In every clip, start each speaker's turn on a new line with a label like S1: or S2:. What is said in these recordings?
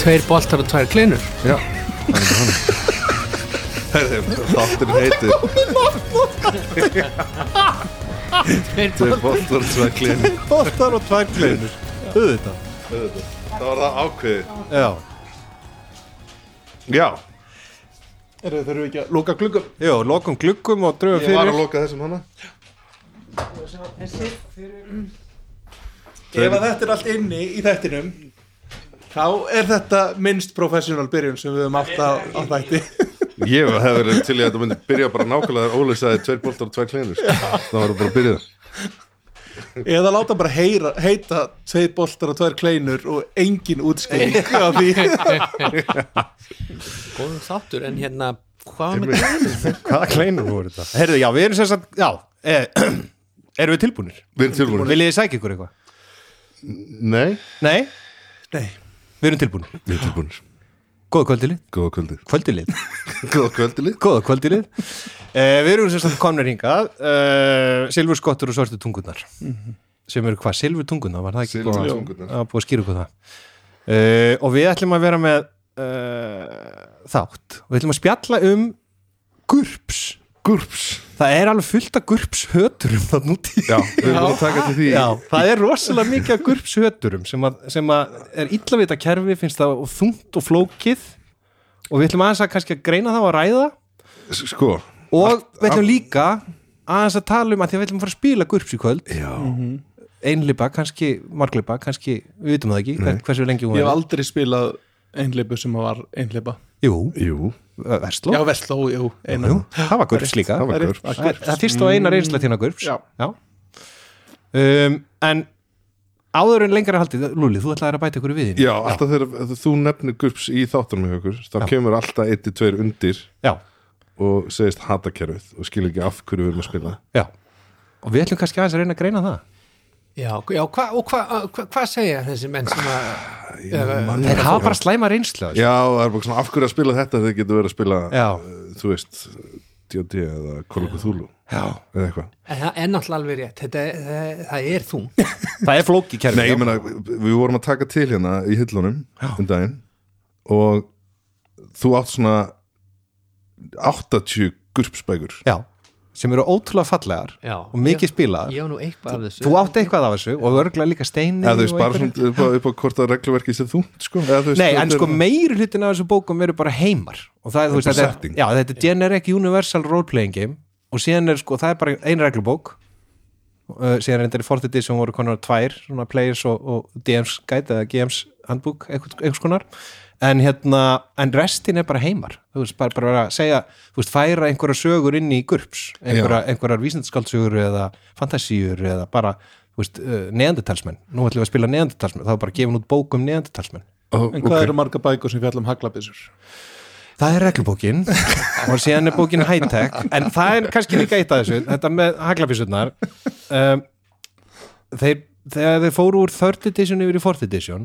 S1: tveir boltar og tveir klinur
S2: Já Þáttir heitir Tveir boltar og tvær kleinur
S3: Bóttar og tvær kleinur Auðvitað
S2: Það var það ákveðið
S3: Já
S2: Já Eru þau þurfum ekki að lóka gluggum
S3: Jó, lokum gluggum og dröfum
S2: Ég var
S3: fyrir
S2: að lóka þessum hana
S4: Ef að þetta er allt inni í þættinum þá er þetta minnst professional byrjun sem við höfum átt á, á þætti
S2: Ég hef verið til í að þetta myndi byrja bara nákvæmlega þegar Óli sagði tveir boltar og tvær kleinur Það var bara að byrja það
S4: eða láta bara heyra, heita tveir boltar og tveir kleinur og engin útskýring á því
S1: góðum þáttur en hérna hvað var með
S3: Hvaða kleinur voru þetta? Herðu, já, við erum sem sagt Já, e, erum við tilbúnir?
S2: Við erum tilbúin
S3: Viljið þið sækja ykkur eitthvað?
S2: Nei,
S3: Nei,
S4: Nei,
S3: við erum tilbúnir
S2: við erum tilbúin
S3: Góða kvöldilið
S2: Góða kvöldið
S3: Kvöldilið
S2: Góða kvöldið
S3: Góða kvöldilið eh, Við erum sem sagt komnir hingað eh, Silfurskottur og svartu tungunar Sem eru hvað? Silfurtungunar? Var það ekki búið að-
S2: Silfurtungurnar.
S3: Já, búið að skýra hvað það eh, Og við ætlum að vera með eh, Þátt Og við ætlum að spjalla um Gurps
S2: Gurps
S3: Það er alveg fullt af gurps höturum Það núti
S2: Já, við erum búin að taka til því
S3: Já, það er rosalega mikið af gurpshöturum sem, að, sem að er illavita kerfi finnst það og þungt og flókið og við ætlum aðeins að kannski að greina það og ræða
S2: S- Sko
S3: og við ætlum líka aðeins að tala um að því að við ætlum að fara að spila gurps í kvöld
S2: Já
S3: einlipa, kannski marglipa, kannski við vitum það ekki, hvern- hversu lengi hún
S4: ég hef
S3: er
S4: aldrei spilað einhleipu sem var einhleipa
S3: Jú,
S2: Jú,
S3: versló
S4: Já, vestló, jú,
S3: Jú,
S4: einan
S3: það var gurps líka
S2: það
S3: það,
S2: var
S4: Það er-
S2: gurps
S3: er- það er fyrst og eina reynsla þína gurps
S4: Já.
S3: Um, en áður en lengra er haldið, Lúli, þú ætlaðir að bæta ykkur við þínu.
S2: Já, alltaf þegar þú nefnir gurps í þáttunum hjá okkur, þá kemur alltaf 1-2 undir
S3: Já.
S2: og segist hata kerfið og skilur ekki af hverju við erum að spila
S3: Já, og við ætlum kannski aðeins að reyna að greina það
S1: já, já hva, og hvað hva, hva segja þessi menn sem að
S3: Þeir hafa bara slæma reynslu Já,
S2: Já, það er bara svona af hverju að spila þetta þegar getur verið að spila
S3: Já.
S2: eh, þú veist, D&D eða Kolokku Þúlu
S3: Já.
S2: eða eitthvað
S1: en það er náttúrulega alveg rétt þetta, það, það er þung
S3: það er flóki kerfi
S2: Nei, ég meina, við vorum að taka til hérna í hillunum um daginn og þú átt svona 80 gurpsbækur
S3: Já, sem eru ótrúlega fallegar
S1: Já.
S3: og mikið spilaðar
S1: ég á nú eitthvað af þessu
S3: Þú átt eitthvað af þessu og örgla líka steini
S2: eða þú veist,
S3: og
S2: bara
S3: einhverju.
S2: svona upp á, upp á hvort að regluverkið sé þú sko. eða, þú veist,
S3: Nei, en
S2: þetta er-
S3: sko meiri hlutin af þessu bókum eru bara heimar og það er, þú veist,
S2: Þetta er
S3: þetta
S2: setting.
S3: er, já, þetta er generic universal role-playing game og síðan er sko, það er bara ein reglubók uh, síðan er þetta í fortiti sem voru konar tvær, svona players og, og DM's guide eða GM's handbúk einhvers einhvers konar en hérna, en restin er bara heimar þú veist, bara, bara vera að segja, þú veist, færa einhverja sögur inn í GURPS einhverja, einhverjar vísindaskaldsögur eða fantasíur eða bara, þú veist, uh, neandertalsmenn nú ætlum við að spila neandertalsmenn, þá er bara gefin út bók um neandertalsmenn
S2: Ó,
S4: En hvað
S2: ok.
S4: eru marga bækur sem um fjallum haglabissur?
S3: Það er reglubókin og síðan er bókin high-tech en það er kannski líka eitt af þessu þetta með haglabísurnar um, þeir, þegar þeir fóru úr 3rd edition yfir í 4th edition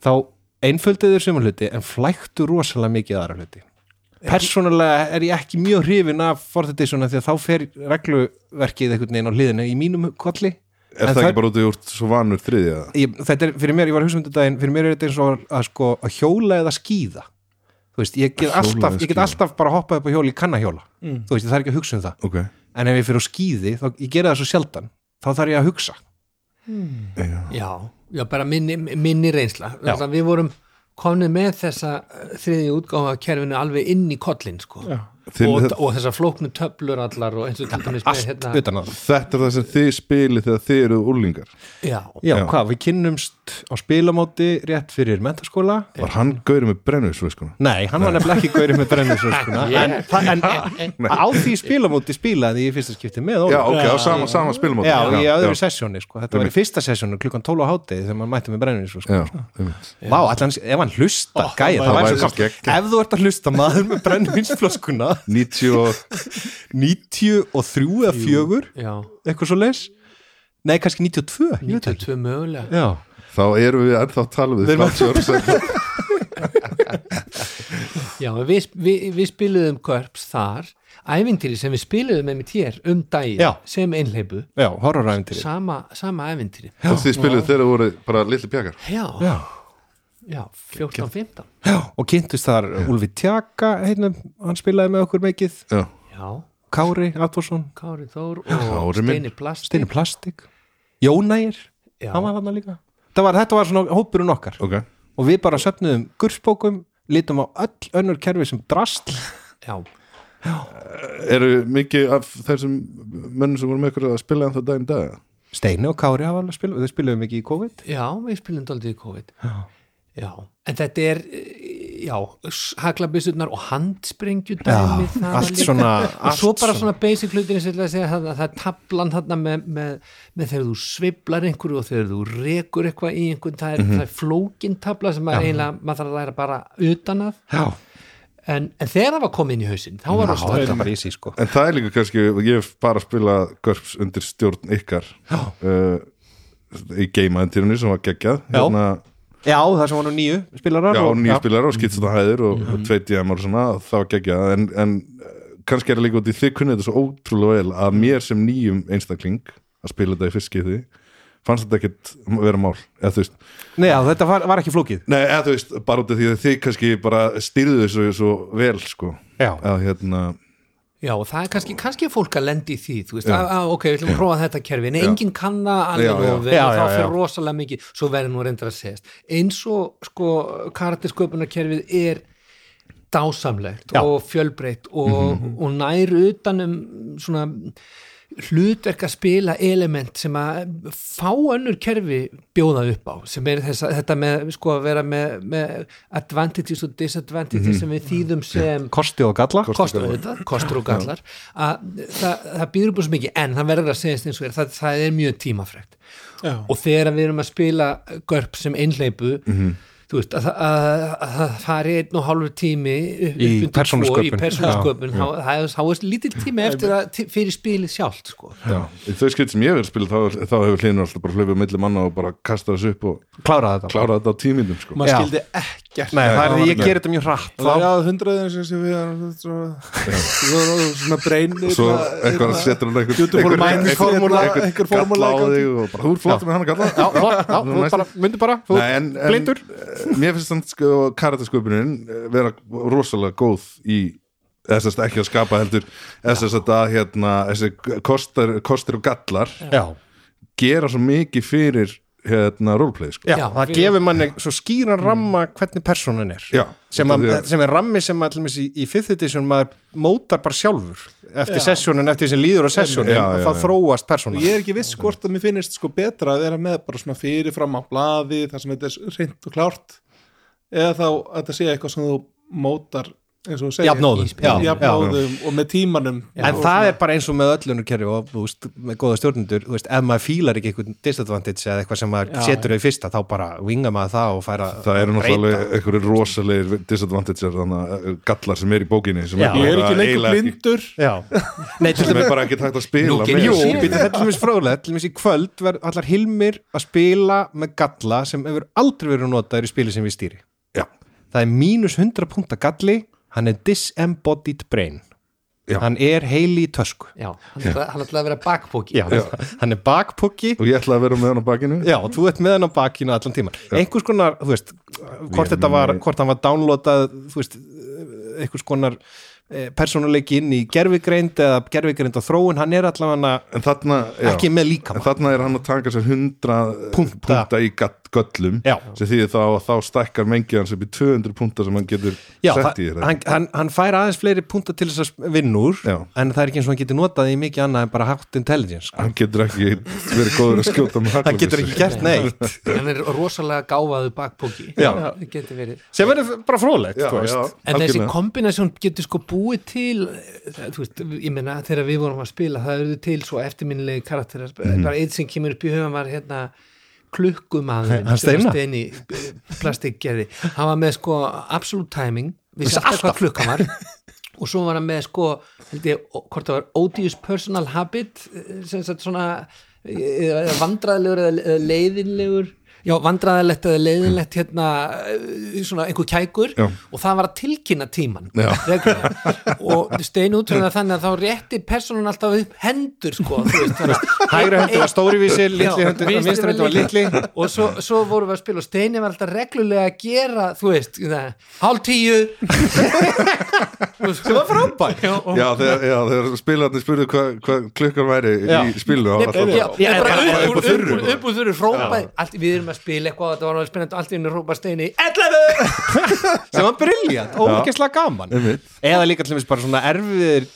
S3: þá einföldu þeir sumar hluti en flæktu rosalega mikið aðra hluti Persónulega er ég ekki mjög hrifin af 4th edition af því að þá fer regluverkið einhvern veginn á hliðinu í mínum kolli
S2: Er
S3: En
S2: það ekki bara út af því að þú ert svo vanur þriðja?
S3: ég, þetta er, fyrir mér, ég var að hugsa um þetta daginn fyrir mér er þetta eins og að, sko, að hjóla eða skýða þú veist, ég get,
S2: Hjóla
S3: alltaf,
S2: eða
S3: ég get
S2: skíða.
S3: alltaf bara hoppað upp á hjóli, ég kann að hjóla þú veist, ég þarf ekki að hugsa um það
S2: Ok,
S3: en ef ég fyrir á skýði, þá, ég gera það svo sjaldan þá þarf ég að hugsa
S1: já, já, bara minni, minni reynsla Þannig að við vorum komnið með þessa eh, þriði útgáfa kerfinu alveg inn í kollin sko.
S2: Þinn-
S1: og, og þessar flóknu töflur allar og eins og til dæmis með
S3: allt
S1: hérna
S3: utan að það
S2: þetta er það sem þið spilið þegar þið eru úlingar
S1: já,
S3: já,
S2: Já.
S3: hvað, við kynnumst á spilamóti rétt fyrir mentaskóla
S2: Var hann gaurið með brennuðsflöskuna?
S3: Nei, hann var nefnilega ekki gaurið með brennur en, það- en á því spilamóti spilaði ég í fyrsta skipti með Óla.
S2: Já, ok, á sama, sama spilmátt
S3: Já, í öðru sessjóni sko. þetta var í fyrsta sessjónu klukkan 12 á hátegi þegar maður mætti með brennir sko.
S2: Já, einmitt.
S3: Vá, allan, ef hann hlusta, oh, gæði, það
S2: væri-
S3: væri svo
S2: það væri
S3: gott.
S2: geggjað.
S3: Ef þú ert að hlusta maður með brennvinsflöskuna
S2: 90 og
S3: 93 eða 4,
S1: já,
S3: eitthvað svo leis Nei, kannski 92, ég veit ekki
S1: 92 mögulega
S3: Já,
S2: þá erum við ennþá að tala við 30 ára sem
S1: já, en við, við, við spiluðum körps þar ævintýri sem við spiluðum með mitt hér um daginn
S3: Já.
S1: sem einhleipu
S3: já horroræfindir
S1: sama, sama ævintýri
S2: þið spilið þegar þið voru bara litli pjakar
S1: já,
S3: Já,
S1: já, 14-15
S3: og kynntist þar Ulfi Tjaka heitnum, hann spilaði með okkur mikið
S2: já,
S1: já,
S3: Kári Atvarsson,
S1: Kári Þór og
S2: Kári minn.
S1: Steini Plast
S3: Steini Plastik Jónægir,
S1: Já.
S3: hann var þarna líka Það var, þetta var svona hópurinn okkar
S2: ok
S3: og við bara söfnuðum gursbókum lítum á öll önnur kerfi sem drast
S1: já,
S2: eru mikið af þessum mönnum sem voru með ykkur að spila ennþá daginn dag
S3: Steini og Kári hafa alveg spilað þau spilaðum ekki í COVID
S1: já, við spilum daldið í COVID já. en þetta er eh, já, haglabissurnar og handsprengju dæmi það var
S3: allt
S1: líka-
S3: svona,
S1: og
S3: allt
S1: svo bara svona basic hlutin sem ég ætla að segja það, það er tablan þarna með, með, með þegar þú sveiflar einhverju og þegar þú rekur eitthvað í einhvern það er, mm er flókin tabla sem maður eiginlega maður þarf að læra bara utan að
S3: Já,
S1: en, en þegar það var komin í hausinn þá var
S3: já,
S1: það
S3: þetta var easy sko
S2: en það er líka kannski, ég hef bara spilað görps undir stjórn ykkar uh, í geimaðentýrunni sem var geggjað
S3: Já.
S2: hérna,
S3: Já, það sem var nú nýju spilarar
S2: já,
S3: og-
S2: nýja spilar og skitsað hæðir og, og tveit ég og svona, það var geggjað en, en eh, kannski er það líka út í þið kunnið þetta svo ótrúlega vel að mér sem nýjum einstakling að spila þetta í fyrst skipti fannst þetta ekkit vera mál eða þú veist,
S3: Nei, já, þetta var, var ekki flókið
S2: nei, eða þú veist bara út af því að þið kannski bara styrðu þessu svo vel sko
S3: Já.
S2: að hérna,
S1: Já, og það er kannski, kannski er fólk að lendi í því, þú veist, að, að, ok, við ætlum að prófa þetta kerfi, en enginn kann það
S2: Já,
S1: alveg
S2: já.
S1: og vel,
S3: Já,
S1: og
S3: já,
S1: þá
S3: já.
S1: fyrir rosalega mikið, svo verður nú reyndar að segjast. Eins og, sko, karaktersköpunarkerfið er dásamlegt
S3: Já. Mhm.
S1: og fjölbreytt og, og nær utanum svona hlutverk að spila element sem að fá önnur kerfi bjóða upp á sem er þessa, þetta með sko að vera með, með advantages og disadvantages
S3: Mhm.
S1: sem við þýðum sem
S3: Kosti og galla
S1: kostur auðvitað, kostur og gallar að það, það býður upp á svo mikið en það verður að segjast eins og er, það, það er mjög tímafrekt
S4: Já.
S1: og þegar við erum að spila görp sem einhleipu
S3: Mhm.
S1: þú veist, að, að, að, að það fari einn og hálfur tími upp
S3: Í
S1: undir tvo
S3: persónusköpun.
S1: í persónusköpun þá, það er- þá er lítill tími eftir að til- fyrir spilið sjálft sko.
S2: Í þau skipt sem ég hef verið að spila þá, þá hefur hlinur alltaf bara hlöfuð milli manna og bara kasta þessu upp og
S3: Kláraði þetta
S2: klára þetta á tímindum sko.
S4: maður
S3: Já.
S4: skildi ekkert
S3: Nei, það er því ég
S2: Nei.
S3: gerir þetta mjög hratt
S4: Það
S3: þá,
S4: er hundraðin sem sem við erum svona hérna. breynir
S2: svo eitthvað setur hann einhver
S4: Beautiful mind formúla, einhver formúla
S2: galla á
S4: í gangi.
S2: þig og bara, þú er flott með hann að galla já,
S3: já, þú bara, myndu bara, þú
S2: Nei, en, en
S3: blindur
S2: eh, mér finnst þannig sko karatasköpunin eh, vera rosalega góð í eða þess að ekki að skapa heldur eða þess að að, hérna, þessi kostar, kostir og gallar
S3: Já,
S2: gera svo mikið fyrir hérna roleplay sko.
S3: já,
S1: Já,
S3: það
S1: við-
S3: gefur manni svo skýran ramma hvernig personan er
S2: Já,
S3: sem,
S2: út
S3: að,
S2: af því að-
S3: sem er rammi sem að, til dæmis, í, í fifth edition maður mótar bara sjálfur eftir sessjónin, eftir sem líður á sessjónin
S2: Já, já,
S3: að það
S2: já.
S3: þróast persónan
S4: ég er ekki viss hvort að mér finnist sko betra að vera með bara svona fyrirfram á blaði þar sem þetta er reynd og klárt eða þá að þetta sé eitthvað sem þú mótar eins og þú segir
S3: Jafnóðum.
S4: Í spil-
S3: Já,
S4: jafnóðum og með tímanum
S3: En það er bara eins og með öllunur kerfi og þú veist, með góða stjórnendur, þú veist, ef maður fílar ekki eitthvað disadvantage eða eitthvað sem maður setur þau fyrsta, þá bara vinga maður það og færa
S2: það eru náttúrulega einhverju rosalegir disadvantager, þannig að gallar sem er í bókinni sem
S3: Já.
S4: ég er
S2: bara
S4: ekki lengur
S2: eiginlega ekki-
S4: blindur
S3: Já, nei, til
S2: sem
S3: dæmis
S2: er bara ekki takt að spila
S1: Nú
S2: með.
S1: get ég
S3: Jú,
S1: séð.
S3: býttu, þetta er til dæmis fróðlega, til dæmis í kvöld verð allar Hilmir að spila með galla sem hefur aldrei verið notaður í spili sem við stýri
S2: já,
S3: það er mínus 100 punta galli hann er disembodied brain
S2: Já.
S3: hann er heili í tösku
S1: já, hann ætlaði hann ætlaði að vera bakpóki
S3: Já. hann er bakpukki
S2: og ég ætla að vera með hann á bakinu
S3: Já, þú ert með hann á bakinu allan tíman einhvers konar, þú veist hvort, þetta var, hvort hann var downloadað þú veist, einhvers konar eh, persónuleiki inn í gerfigreind eða gerfigreind og þróun, hann er allavega
S2: en þarna, já,
S3: ekki með
S2: en
S3: líkama
S2: þarna er hann að taka sér 100
S3: Punkta.
S2: punkta í gatt, göllum
S3: Já.
S2: sem því þá, þá stækkar mengi hans upp í 200 punkta sem hann getur
S3: Já,
S2: sett í
S3: það-
S2: þér
S3: hann, hann, hann fær aðeins fleiri punta til þess að vinna úr
S2: Já.
S3: en það er ekki eins og hann getur notað í mikið annað en bara haft intelligence
S2: hann getur ekki verið góður að skjóta með
S3: hann getur ekki gert neitt
S1: hann er rosalega gáfaðu bakpóki
S3: Já.
S1: það getur verið
S3: sem verður bara fróðlegt
S2: já,
S3: þú
S2: já,
S3: veist.
S1: En þessi
S2: algjörlega.
S1: kombinasjón getur sko búið til eh, þú veist, ég meina þegar við vorum að spila það eru til svo eftirminnilegi karakterar bara
S3: Mhm.
S1: eitt sem kemur upp í hugan var hérna klukkumaðurinn
S3: Hann
S1: sem
S3: Steinar?
S1: var steini plastik gerði, hann var með sko absolute timing, vissi
S3: Vissi
S1: alltaf
S3: alltaf.
S1: hvað klukkan var og svo var hann með sko held ég, ó- hvort það var odious personal habit eh, sem sagt svona eh, eða vandræðilegur eða eða leiðinlegur já, vandræðalegt eða leiðinlegt hérna, eh, svona einhver kækur
S2: Já.
S1: og það var að tilkynna tíman
S2: Já.
S1: reglulega. og stein útrúna þannig að þá rétti personun alltaf upp hendur sko, þú veist, þannig að-
S3: hægra hendur var stóri vísir, litli
S1: Já,
S3: hendur,
S1: vinstri
S3: vinstri hendur var litli
S1: og svo, svo vorum við að spila og Steini var alltaf reglulega að gera þú veist, það, hálf tíu sem var frábæk já, og,
S2: Já, þegar, já, þegar spilarnir spurðu hvað hva klukkan væri
S3: Já.
S2: í spilinu
S1: Nei,
S2: þá var
S1: bara-
S2: það
S1: já,
S2: bara-
S1: já, bara
S2: bara upp
S1: upp-
S2: á
S1: upp-
S2: þurru
S1: upp- upp úr þurru hrópaði allt, við erum að spila eitthvað þetta var alveg spennandi allt í henni hrópa Steini 11
S3: sem var briljant, ógeðslega gaman
S2: Einmitt.
S3: eða líka til þess bara svona erfiðir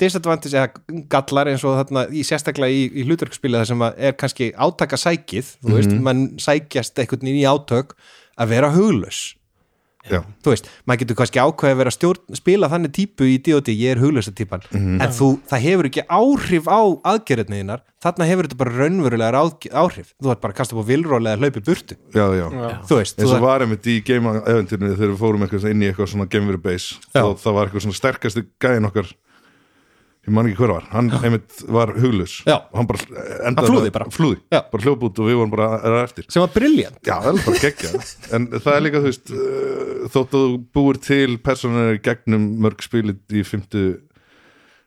S3: disadvantage eða gallar eins og þarna í sérstaklega í, í hlutverkspilið þar sem að er kannski átaka sækið þú
S2: Mhm.
S3: veist, mann sækjast einhvern veginn í átök að vera huglaus
S2: Já,
S3: þú veist, maður getur kannski ákveðið að vera stjórn spila þannig típu í D.O.D. ég er huglausa típan,
S2: Mhm.
S3: en þú, það hefur ekki áhrif á aðgerðniðinar þarna hefur þetta bara raunverulegar ág- áhrif þú ert bara að kasta upp á vilrólega að hlaupi burtu
S2: já, já,
S3: þú veist,
S2: eins
S3: þú
S2: og varum við í game-eventinu þegar við fórum eitthvað svona inn í eitthvað svona game-veru base
S3: Já.
S2: og það var eitthvað svona sterkasti gæðin okkar ég man ekki hver var, hann einmitt var huglus
S3: Já.
S2: og hann bara
S3: Hann
S2: endaði
S3: flúði
S2: með-
S3: bara.
S2: flúði,
S3: Já.
S2: bara hljóp út og við vorum bara að að eftir
S3: sem var briljant
S2: Já, það er bara geggja En það er líka, þú veist uh, Þótt að þú búir til personar í gegnum mörg spilið í 50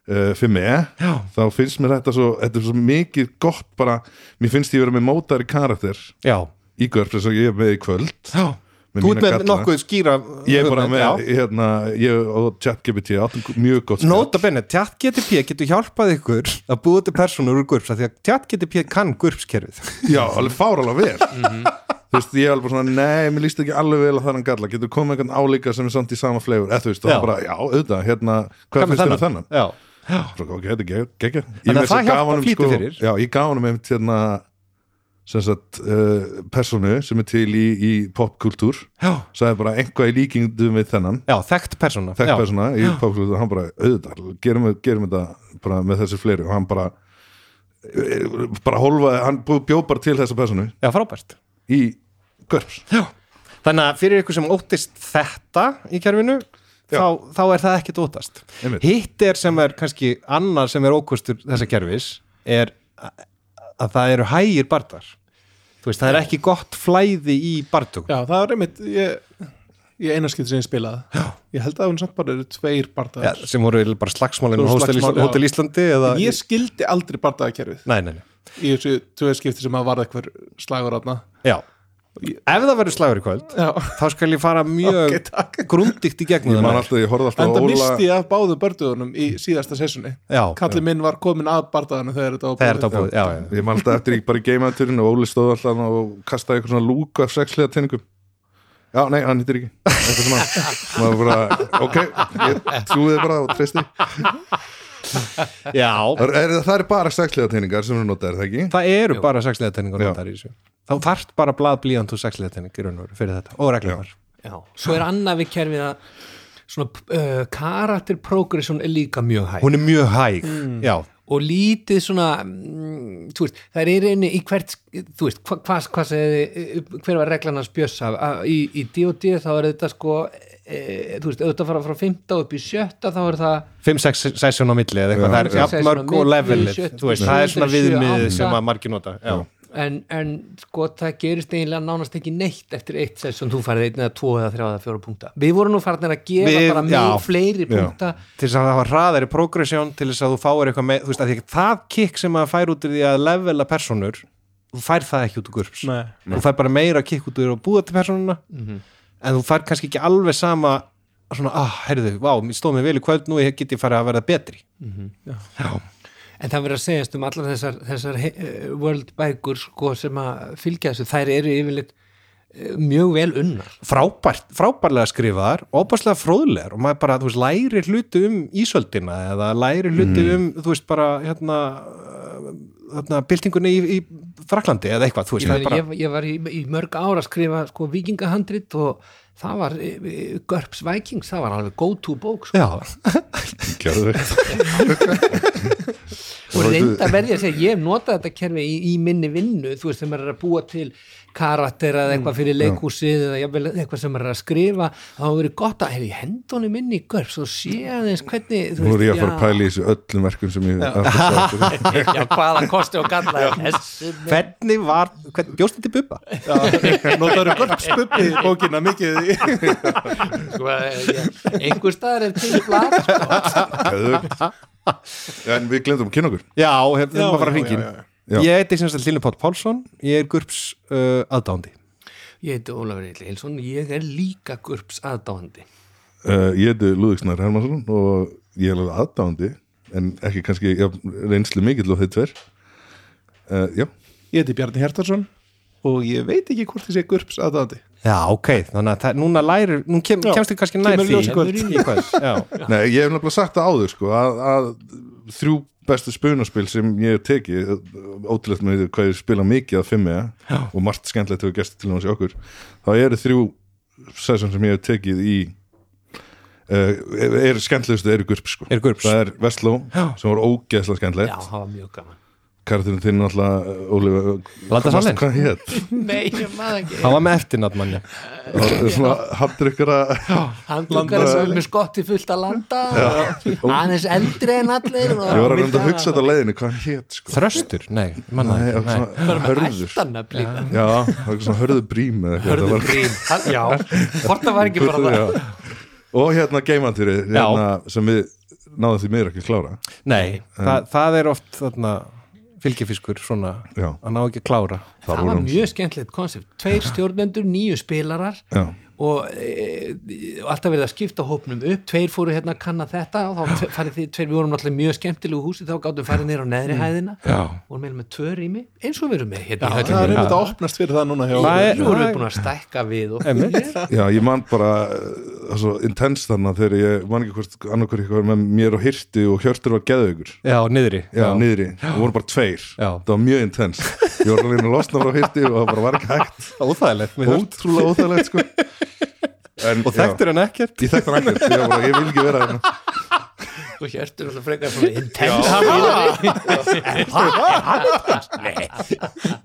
S2: uh, 5e
S3: Já.
S2: þá finnst mér þetta svo, þetta er svo mikið gott bara, mér finnst ég vera með mótari karakter
S3: já,
S2: í görf eins og ég er með í kvöld
S3: já
S2: Með
S3: Þú
S2: mína
S3: ert með
S2: galla.
S3: nokkuð skýra
S2: Ég er bara
S3: hugmynd,
S2: með,
S3: já.
S2: hérna, ég og ChatGPT áttum mjög gott
S3: Nota benni, tjátt GTP getur hjálpað ykkur að búa til personur úr GURPS af því að tjátt GTP kann GURPS-kerfið
S2: Já, alveg fáralega vel Þú veist, ég er alveg bara svona, nei, mér líst ekki alveg vel að það er hann galla, getur komið einhvern álíka sem er samt í sama flegur, eða þú veist, það
S3: Já.
S2: er bara, já, auðvitað, hérna, hvað finnst þér um þennan?
S3: Já,
S2: Bara, ok, þetta er gegg- geggjað. Ég
S3: Þannig að
S2: meira
S3: það
S2: segja gaf
S3: hjálpar
S2: honum,
S3: flýti fyrir.
S2: sko, Já, ég gaf honum einmitt hérna sem sagt, uh, personu sem er til í, í popkultúr
S3: já,
S2: sagði bara einhvað í líkingdum við þennan
S3: já, þekkt persona
S2: þekk
S3: já.
S2: persona í popkultúr, hann bara auðvitað, gerum, við- gerum þetta bara með þessi fleiri og hann bara eh, bara holfaði, hann bjóð bara til þessa personu
S3: Já, frábært
S2: í Görps
S3: já. Þannig að fyrir ykkur sem óttist þetta í kerfinu
S2: Já.
S3: þá, þá er það ekkit óttast
S2: Einmitt.
S3: Hitt er sem er kannski annar sem er ókostur þessa kerfis er að að það eru hægir bardar Þú veist, það er ekki gott flæði í bardugum
S4: Já, það var einmitt ég, ég einaskipti sem ég spilaði já. ég held að hún samt bara eru tveir
S3: Já,
S4: bardaðar
S3: sem voru eiginlega bara slagsmálin á
S4: Þú
S3: Hótel
S4: slagsmál,
S3: Íslandi,
S4: já.
S3: Hótel Íslandi eða...
S4: ég skildi aldrei bardaðakerfið
S3: Nei, nei, nei,
S4: í þessu tveir skipti sem að varða eitthvað slagur aðna
S3: já Ef það verður slagur í kvöld
S4: Já,
S3: þá skal ég fara mjög
S4: Ok, takk.
S3: grundigt í gegnum
S2: ég
S3: það
S2: man alltaf, ég horfði alltaf á
S4: enda
S2: Óla
S4: misti ég af báðum börduðunum í síðasta sessunni
S3: Já.
S4: Kalli minn var komin að bardaðanum þegar þetta var
S3: Það er þetta á
S4: búið.
S3: búið, já, já,
S2: ég man alltaf eftir ég bara í geimaturinn og Óli stóð alltaf þarna og kastaði eitthvað svona lúku af sexliða teiningum já, nei, hann hittir ekki eitthvað svona, maður bara, ok ég trúið bara og treysti það
S3: já.
S2: er, það er bara sexliða teiningar sem hún notar, er það ekki?
S3: Það eru bara sexlega tenningur
S2: Já.
S3: notar í þessu Þá þarft bara blað blíjant og sexlega tenning í raun og veru fyrir þetta og reglumar
S1: já. svo er annað við kerfið að svona uh, karakter progression er líka mjög hæg
S3: Hún er mjög hæg, já,
S1: og lítið svona mm, þú veist, það er einu í hvert þú veist, hvað hva, hva segði hver var reglan hans bjössa Að í, í D.O.D. þá er þetta sko e, þú veist, auðvitað fara frá 15 upp í sjötta þá er það
S3: 5-6 sesjón á milli eða eitthvað, það er
S1: Fimm, sex
S3: jafn
S1: session á
S3: mörg og
S1: milli,
S3: levelið,
S1: sjö-
S3: þú veist, það er svona
S1: sjö,
S3: viðmiðið
S1: átta.
S3: sem að margir nota, já,
S1: en, en sko það gerist eiginlega nánast ekki neitt eftir eitt sess sem þú farið einn eða tvo eða þrjá eða fjóra punkta við vorum nú farinir að gefa
S3: Við-
S1: bara
S3: já.
S1: mjög fleiri punkta
S3: til þess að hafa hraðari progresjón til þess að þú fáir eitthvað með, þú veist, að því að það kikk sem að fær út úr því að levela personur þú fær það ekki út úr gurps
S4: Nei.
S3: þú fær bara meira kikk út úr að búa til personuna
S1: Mhm.
S3: en þú fær kannski ekki alveg sama svona, ah, heyrðu, vá, mér stóð mér vel í kvöld nú ég get ég farið að verða betri
S1: Mhm. en það verður að segjast um allar þessar, þessar he- eh, world bækur sko sem að fylgja þessu, þær eru yfirleitt eh, mjög vel unnar
S3: frábært, frábærlega skrifaðar opaslega fróðlegar og maður bara, þú veist, læri hluti um ísöldina eða læri hluti
S1: Mhm.
S3: um, þú veist, bara hérna, uh, hérna byltingunni í, í Fraklandi eða eitthvað, þú veist,
S1: ég,
S3: það er
S1: var,
S3: bara
S1: ég, ég var í, í mörg ára að skrifa sko vikingahandrit og það var e, e, Görps Vikings, það var alveg go to bók sko.
S3: Já,
S2: Gjörðu.
S1: og reynda verði að segja, ég hef notað þetta kerfi í, í minni vinnu, þú veist, þegar maður er að búa til karakter eða
S2: Mm,
S1: eitthvað fyrir leikhúsið eða jafnvel eitthvað sem maður er að skrifa þá hefur verið gott að, hefur ég hendunum inn í görf, svo sé aðeins hvernig þú
S2: Nú er ég að fara
S1: já.
S2: að pæla í þessu öllum verkum sem ég að fara að sjá.
S1: já, hvaða kosti og galla er þessi
S3: hvernig var, hvern, bjóst þetta í bubba?
S4: notaður vörpspubbi í bókina mikið í-
S1: sko, ég- einhver staðar er til blad sko.
S2: Geðveikt. En við glemdum að kynna okkur
S3: Já, hefðum
S4: Já,
S3: að fara
S4: já,
S3: hringin
S4: já, já,
S2: já.
S3: Ég heiti sem sagt Línu Pátt Pálsson ég er GURPS uh, aðdándi
S1: ég heiti Ólafur Eil Eilsson, ég er líka gurps aðdáðandi
S2: uh, Ég heiti Lúðiksnar Hermansson og ég er alveg aðdáandi en ekki kannski já, reynslu mikill og þeir tver uh, Já,
S4: ég heiti Bjarni Hjartarsson og ég veit ekki hvort þessi gurps aðdandi
S3: Já, ok, þannig að það, núna lærir nú kem,
S4: Já,
S3: kemst þið kannski nær
S4: kemur
S3: því
S4: ljós í kvöld.
S3: Í kvöld, já.
S2: Nei, ég hef nefnilega sagt það áður sko, að, að þrjú bestu spunaspil sem ég hef tekið uh, ótrúlegt með hvað ég spila mikið að fimmi og margt skemmtilegt hefur gestið til náttúrulega okkur þá eru þrjú session sem ég hef tekið í uh, er skemmtilegustu eru GURP sko.
S3: Eru GURPS.
S2: það er Vestló
S3: Já.
S2: sem var ógeðslega
S1: já,
S2: skemmtilegt
S1: það var mjög gaman
S2: karakterinn þinn náttúrulega Ólifa,
S3: Landa Sallen.
S2: hvað hétt
S1: nei, ég maður ekki
S3: Það var með eftirnátt manja
S2: svona hattur ykkur að
S1: hann lukkar sem er með skotti fullt að landa aðeins eldri en allir og
S2: ég var að reynda að hugsa þetta á leiðinu hvað hétt sko.
S3: Þröstur, nei, manna
S2: Nei,
S3: ekki nei.
S2: svona hörður
S1: Ættanöfn líka
S2: Já, það var svona hörðu brím eða eitthvað, það
S1: Hörðu
S2: var-
S1: grín, Hann- já, hvort það var ekki bara það
S2: Já. Og hérna geimantýri hérna, sem við náðum því miður ekki að klára
S3: Nei, það, það er oft þarna, fylgifiskur svona
S2: Já.
S3: að ná ekki að klára
S2: Þar
S1: Það var
S2: voru hún-
S1: mjög skemmtilegt konsept, tveir stjórnendur, nýju spilarar
S2: Já.
S1: og e, og alltaf verið að skipta hópnum upp, tveir fóru hérna að kanna þetta og þá farið því, tveir, við vorum náttúrulega í mjög skemmtilegu húsi, þá gáttum við farið neyra á neðri hæðina
S3: Já.
S1: vorum meðlum með tvö rými, eins og við erum með hérna í
S4: það er
S1: höllinni.
S4: einmitt að opnast fyrir það núna hjá
S3: Nei.
S4: okkur.
S1: Nú erum við búin að stækka við og
S3: Einmitt.
S2: Já, ég man bara uh, það svo intens þarna þegar ég man ekki hvort annarkur eitthvað með mér og hirti og hjörtur var geðaugur
S3: Já, niðri
S2: Já, niðri, það voru bara tveir
S3: Já.
S2: það var mjög intens ég var alveg að losna frá hirti og það bara var ekki hægt
S3: Óþægilegt mér finnst.
S2: ótrúlega óþægilegt sko en,
S3: Og þekktur hann ekkert
S2: já, ég þekktur hann ekkert, ég, bara, ég vil ekki vera hérna
S1: og hjertur alltaf frekar svona intense spilari